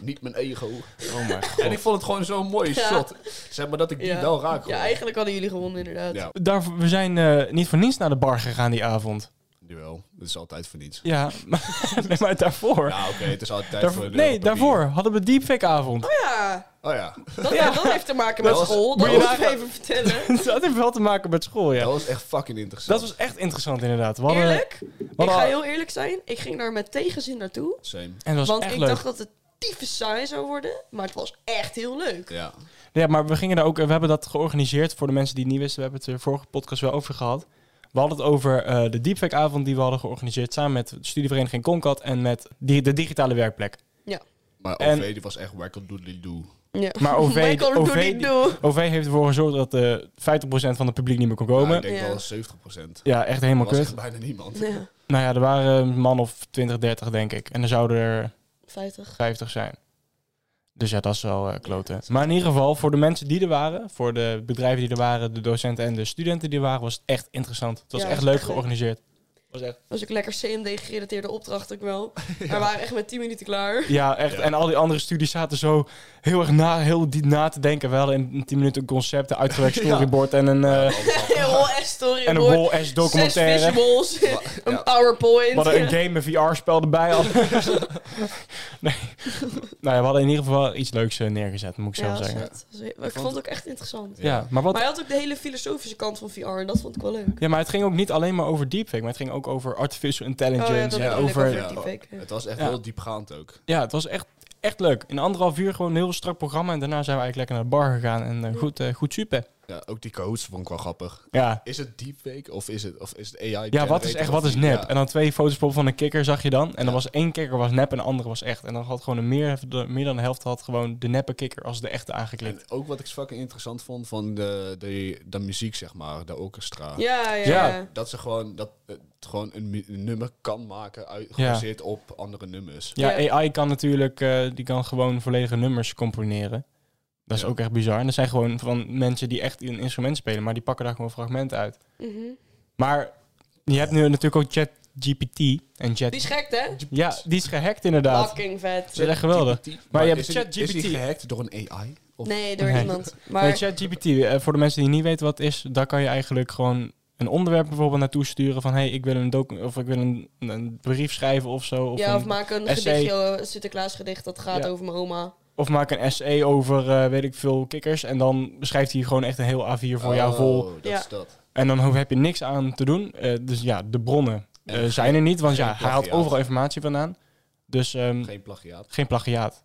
S2: Niet mijn ego.
S1: Oh mijn god.
S2: En ik vond het gewoon zo'n mooie
S5: Ja.
S2: shot. Zeg maar dat ik die
S5: Ja.
S2: wel raak.
S5: Ja,
S2: gewoon.
S5: eigenlijk hadden jullie gewonnen, inderdaad.
S2: Ja.
S1: Daar, we zijn eh, niet voor niets naar de bar gegaan die avond.
S2: Jawel, dat is altijd voor niets.
S1: Ja, maar, nee, maar daarvoor.
S2: Ja, oké, het is altijd tijd
S1: Daarvoor-
S2: voor een
S1: nee,
S2: euro per
S1: daarvoor hadden we deepfake avond.
S5: Ja,
S2: bier. Oh ja,
S5: dat, dat heeft te maken met
S2: Dat was-
S5: school.
S1: Moet
S5: Dat
S1: je
S5: moet ik
S1: nagaan.
S5: even vertellen.
S1: dat heeft wel te maken met school, ja.
S2: dat was echt fucking interessant.
S1: Dat was echt interessant inderdaad. We hadden-
S5: Eerlijk?
S1: we
S5: Ik
S1: hadden-
S5: ga heel eerlijk zijn, ik ging daar met tegenzin naartoe.
S2: Same.
S1: en dat was
S5: Want
S1: echt
S5: ik
S1: leuk.
S5: dacht dat het tyfus saai zou worden, maar het was echt heel leuk.
S2: Ja.
S1: Ja, maar we gingen daar ook, we hebben dat georganiseerd voor de mensen die het niet wisten. We hebben het er vorige podcast wel over gehad. We hadden het over eh, de deepfake avond die we hadden georganiseerd samen met de studievereniging Concat en met di- de digitale werkplek.
S2: Maar
S1: En-
S2: OV, die was echt wackle doodly doo.
S5: Ja.
S1: Maar OV,
S5: Michael, doe
S1: OV,
S5: niet doe.
S1: OV heeft ervoor gezorgd dat eh 50% van het publiek niet meer kon
S2: Ja,
S1: komen.
S2: ik denk
S5: Ja.
S2: wel 70 procent.
S1: Ja, echt helemaal
S2: was
S1: kut.
S2: echt bijna niemand.
S5: Ja,
S1: Nou ja, er waren een man of 20, 30 denk ik. En er zouden er
S5: 50.
S1: 50 zijn. Dus ja, dat is wel eh kloten. Maar in ieder geval, voor de mensen die er waren, voor de bedrijven die er waren, de docenten en de studenten die er waren, was het echt interessant. Het was
S5: Ja,
S1: echt
S5: was
S1: leuk
S5: echt leuk.
S1: georganiseerd. Was echt...
S5: Dat was ook lekker CMD-gerelateerde opdracht ook wel. Maar we waren echt met 10 minuten klaar.
S1: Ja, echt.
S2: Ja.
S1: En al die andere studies zaten zo heel erg na, heel diep na te denken. We hadden in 10 minuten een concept, een uitgewerkt
S2: Ja.
S1: storyboard en een, eh,
S5: Heel S-story.
S1: en een wall ass
S5: Zes
S1: documentaire.
S5: visuals, een PowerPoint.
S1: We hadden een game, een VR-spel erbij. al. nee. Nou ja, we hadden in ieder geval iets leuks eh, neergezet, moet ik
S5: Ja,
S1: zo
S5: dat was
S1: zeggen.
S5: vet. Dat was heel- maar ik vond het ook echt interessant.
S1: Ja, maar wat
S5: Maar hij had ook de hele filosofische kant van VR en dat vond ik wel leuk.
S1: Ja, maar het ging ook niet alleen maar over deepfake, maar het ging ook over artificial intelligence.
S5: Oh ja, dat
S1: en
S5: bedoel ik,
S1: over,
S5: over
S1: ja.
S2: ja.
S5: deepfake, ja.
S2: Het was echt
S1: Ja.
S2: heel diepgaand ook.
S1: het was echt, echt leuk. In anderhalf uur gewoon een heel strak programma en daarna zijn we eigenlijk lekker naar de bar gegaan en eh, goed, eh, goed super.
S2: Ja, ook die coach vond ik wel grappig.
S1: Ja.
S2: Is het deepfake of is het, of is het AI?
S1: Ja, wat is echt, wat is nep? En dan twee foto's pop van een kikker zag je dan. En dan was één kikker was nep en de andere was echt. En dan had gewoon een meer, de, meer dan de helft had gewoon de neppe kikker als de echte aangeklikt.
S2: En ook wat ik fucking interessant vond van de, de, de muziek, zeg maar, de orchestra.
S5: Ja, ja.
S1: Ja.
S5: ja.
S2: Dat ze gewoon, dat, het gewoon een, mu- een nummer kan maken, uit,
S1: Ja.
S2: gebaseerd op andere nummers.
S1: Ja,
S5: Ja.
S1: AI kan natuurlijk, eh, die kan gewoon volledige nummers componeren. Dat is
S2: Ja.
S1: ook echt bizar. En dat zijn gewoon van mensen die echt een instrument spelen, maar die pakken daar gewoon fragmenten uit.
S5: Mhm.
S1: Maar je hebt nu natuurlijk ook ChatGPT en Chat.
S5: Die is gek, hè?
S1: ja, die is gehackt inderdaad.
S5: Fucking vet.
S1: Dat is echt geweldig.
S2: ChatGPT.
S1: Maar je hebt
S2: is die- Is die
S1: ChatGPT.
S2: gehackt door een AI? Of
S5: Nee, door
S1: Nee.
S5: iemand. Maar
S1: Nee, ChatGPT, eh, voor de mensen die niet weten wat het is, daar kan je eigenlijk gewoon een onderwerp bijvoorbeeld naartoe sturen van hey, ik wil een docu- of ik wil een, een brief schrijven of zo. Of,
S5: ja,
S1: een-
S5: of maak een
S1: essay.
S5: gedichtje, eh, een Sinterklaasgedicht dat gaat
S1: Ja.
S5: over mijn oma.
S1: of maak een essay over eh, weet ik veel kikkers. En dan schrijft hij gewoon echt een heel A4 voor jou
S2: Oh,
S1: vol.
S2: Dat
S5: Ja.
S2: is dat.
S1: En dan ho- heb je niks aan te doen. Eh, dus ja, de bronnen eh,
S2: En
S1: zijn er niet. Want ja,
S2: geen
S1: hij haalt
S2: plagiaat.
S1: overal informatie vandaan. Dus ehm,
S2: Geen plagiaat.
S1: Geen plagiaat.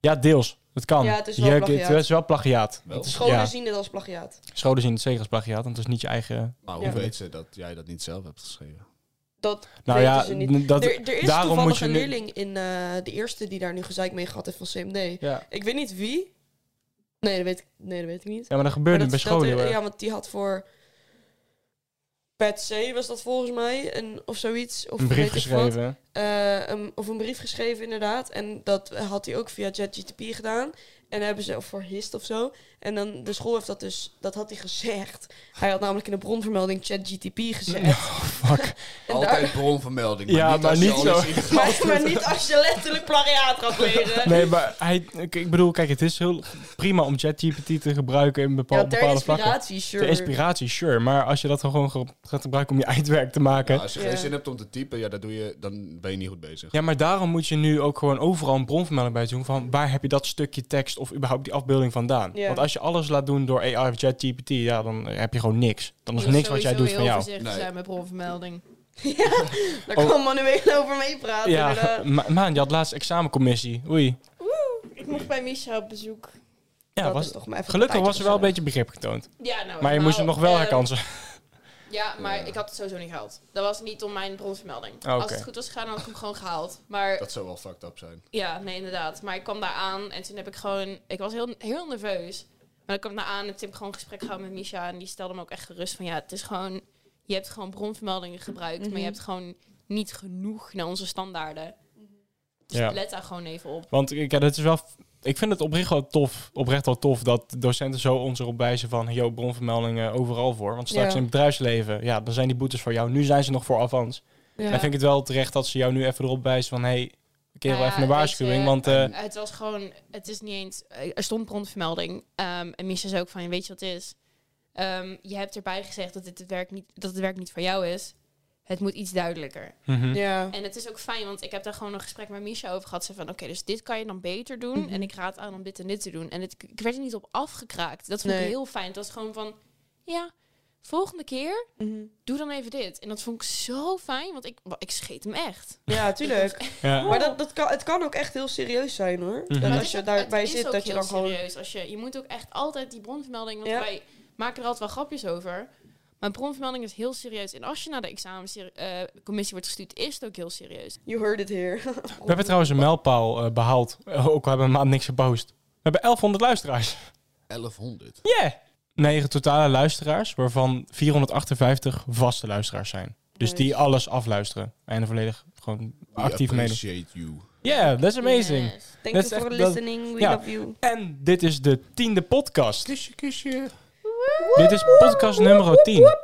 S1: Ja, deels. Het kan.
S5: Ja, het is wel
S1: Je-
S5: plagiaat.
S1: Het is wel plagiaat.
S2: Wel.
S1: Het is-
S5: Scholen
S1: ja.
S5: zien dit als plagiaat.
S1: Scholen zien het zeker als plagiaat, want het is niet je eigen...
S2: Maar hoe
S5: Ja.
S2: weet ze dat jij dat niet zelf hebt geschreven?
S5: Dat
S1: Nou
S5: weten
S1: ja,
S5: ze niet.
S1: n- dat,
S5: er, er is
S1: daarom
S5: toevallig
S1: moet je
S5: een
S1: nu-
S5: leerling in eh, de eerste die daar nu gezeik mee gehad heeft van CMD.
S1: Ja.
S5: Ik weet niet wie. Nee, dat weet ik, nee, dat weet ik niet.
S1: ja, maar dat gebeurt
S5: Maar
S1: niet bij
S5: dat-
S1: scholen.
S5: dat-
S1: hoor.
S5: ja, want die had voor Pet C was dat volgens mij. Een, of zoiets. Of
S1: een brief
S5: weet ik wat.
S1: geschreven.
S5: Eh, een- of een brief geschreven inderdaad. En dat had hij ook via ChatGPT gedaan.
S4: En hebben ze, of voor hist of zo. En dan de school heeft dat dus, dat had hij gezegd. Hij had namelijk in de bronvermelding ChatGTP gezet. En daar-
S2: Altijd bronvermelding. Maar
S1: Ja,
S2: niet
S1: maar
S2: als je
S1: niet
S2: al
S1: zo.
S2: eens iets-
S4: Maar, maar niet als je letterlijk plagiaat gaat leren.
S1: Nee, maar hij, ik, ik bedoel, kijk, het is heel prima om ChatGPT te gebruiken in bepaal,
S4: Ja, ter
S1: bepaalde
S4: inspiratie,
S1: vlakken.
S4: sure.
S1: Ter inspiratie, sure. Maar als je dat dan gewoon ge- gaat gebruiken om je eindwerk te maken.
S2: Ja, als je geen zin hebt om te typen, ja, dat doe je, dan ben je niet goed bezig.
S1: Ja, maar daarom moet je nu ook gewoon overal een bronvermelding bij doen van waar heb je dat stukje tekst of überhaupt die afbeelding vandaan.
S4: Ja.
S1: Want als je alles laat doen door AI of ChatGPT, ja, dan heb je gewoon niks. Dan is niks wat jij doet van jou.
S5: Sowieso heel voorzichtig zijn met bronvermelding.
S4: Daar
S1: Oh.
S4: kan Manuel over meepraten.
S1: Ja,
S4: inderdaad.
S1: ma man, je had laatst examencommissie. Oei.
S4: Ik mocht bij Misha op bezoek.
S1: Ja,
S4: Dat
S1: was,
S4: is toch maar even
S1: gelukkig
S4: een
S1: was er wel een beetje begrip getoond.
S5: Ja, nou,
S1: maar je moest hem
S5: nou,
S1: nog wel
S4: eh,
S5: ehm,
S1: herkansen.
S5: Ja, maar ik had het sowieso niet gehaald. Dat was niet om mijn bronvermelding.
S1: Oké.
S5: Als het goed was gegaan, had ik hem gewoon gehaald. Maar
S2: Dat zou wel fucked up zijn.
S5: Ja, nee, inderdaad. Maar ik kwam daar aan en toen heb ik gewoon... Ik was heel, heel nerveus. Maar ik kwam daar aan en toen heb ik gewoon een gesprek gehad met Misha. En die stelde me ook echt gerust van... Ja, het is gewoon... Je hebt gewoon bronvermeldingen gebruikt. Maar je
S4: Mhm.
S5: hebt gewoon niet genoeg naar onze standaarden. Dus
S1: Ja.
S5: let daar gewoon even op.
S1: Want ik- ja, dat is wel. Ik vind het oprecht wel tof, oprecht wel tof dat docenten zo ons erop wijzen van joh, bronvermeldingen overal voor. Want straks
S5: Ja.
S1: in het bedrijfsleven, ja, dan zijn die boetes voor jou. Nu zijn ze nog voor avans.
S5: Ja.
S1: Dan vind ik het wel terecht dat ze jou nu even erop wijzen van hey, keer wel
S5: Nou
S1: even
S5: ja,
S1: een waarschuwing.
S5: weet je, ehm,
S1: Want eh,
S5: het was gewoon, het is niet eens, eh, er stond bronvermelding. Ehm, en Misha zei ook van, weet je wat het is? Ehm, je hebt erbij gezegd dat, dit het werk niet, dat het werk niet voor jou is. Het moet iets duidelijker.
S1: Mhm.
S4: Ja.
S5: En het is ook fijn, want ik heb daar gewoon een gesprek met Misha over gehad. Ze van, oké, dus dit kan je dan beter doen.
S1: Mhm.
S5: En ik raad aan om dit en dit te doen. En het, ik werd er niet op afgekraakt. Dat vond
S4: Nee.
S5: ik heel fijn. Het was gewoon van, ja, volgende keer doe dan even dit. En dat vond ik zo fijn, want ik, ik scheet hem echt.
S4: Ja, tuurlijk.
S5: Ja.
S4: Maar
S1: Oh.
S4: dat, dat kan, het kan ook echt heel serieus zijn hoor.
S5: Mhm.
S4: Dat
S5: Maar
S4: als je
S5: het is ook- het
S4: daarbij
S5: is
S4: zit,
S5: ook
S4: dat je
S5: heel
S4: dan gewoon.
S5: serieus. Als je, je moet ook echt altijd die bronvermelding... Want
S4: Ja.
S5: wij maken er altijd wel grapjes over. Maar een bronvermelding is heel serieus. En als je naar de examencommissie wordt gestuurd... is het ook heel serieus.
S4: You heard it here.
S1: we hebben trouwens een mijlpaal eh, behaald. Eh, Ook al hebben we een maand niks gepost. We hebben 1100 luisteraars.
S2: 1100.
S1: Yeah! 9 totale luisteraars, waarvan 458 vaste luisteraars zijn. Dus die alles afluisteren. En volledig gewoon
S2: We
S1: actief meedoen.
S2: appreciate you.
S1: Yeah, that's amazing.
S4: Thank
S1: That's
S4: you for
S1: echt- dat-
S4: listening. We
S1: ja.
S4: love you.
S1: En dit is de tiende podcast.
S2: Kusje, kusje.
S1: Dit is podcast nummer 10.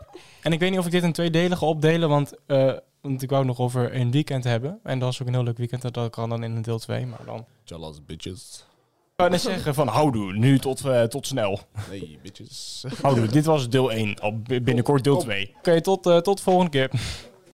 S1: En ik weet niet of ik dit in twee delen ga opdelen, want, eh, want ik wou het nog over een weekend hebben. En dat is ook een heel leuk weekend, dat kan dan in een deel 2, maar dan...
S2: Jalas bitches.
S1: Ik wou net zeggen van houdoe, nu tot, eh, tot snel.
S2: Nee, bitches.
S1: Houdoe, dit was deel 1, al b- binnenkort deel 2. Oké, tot, eh, tot de volgende keer.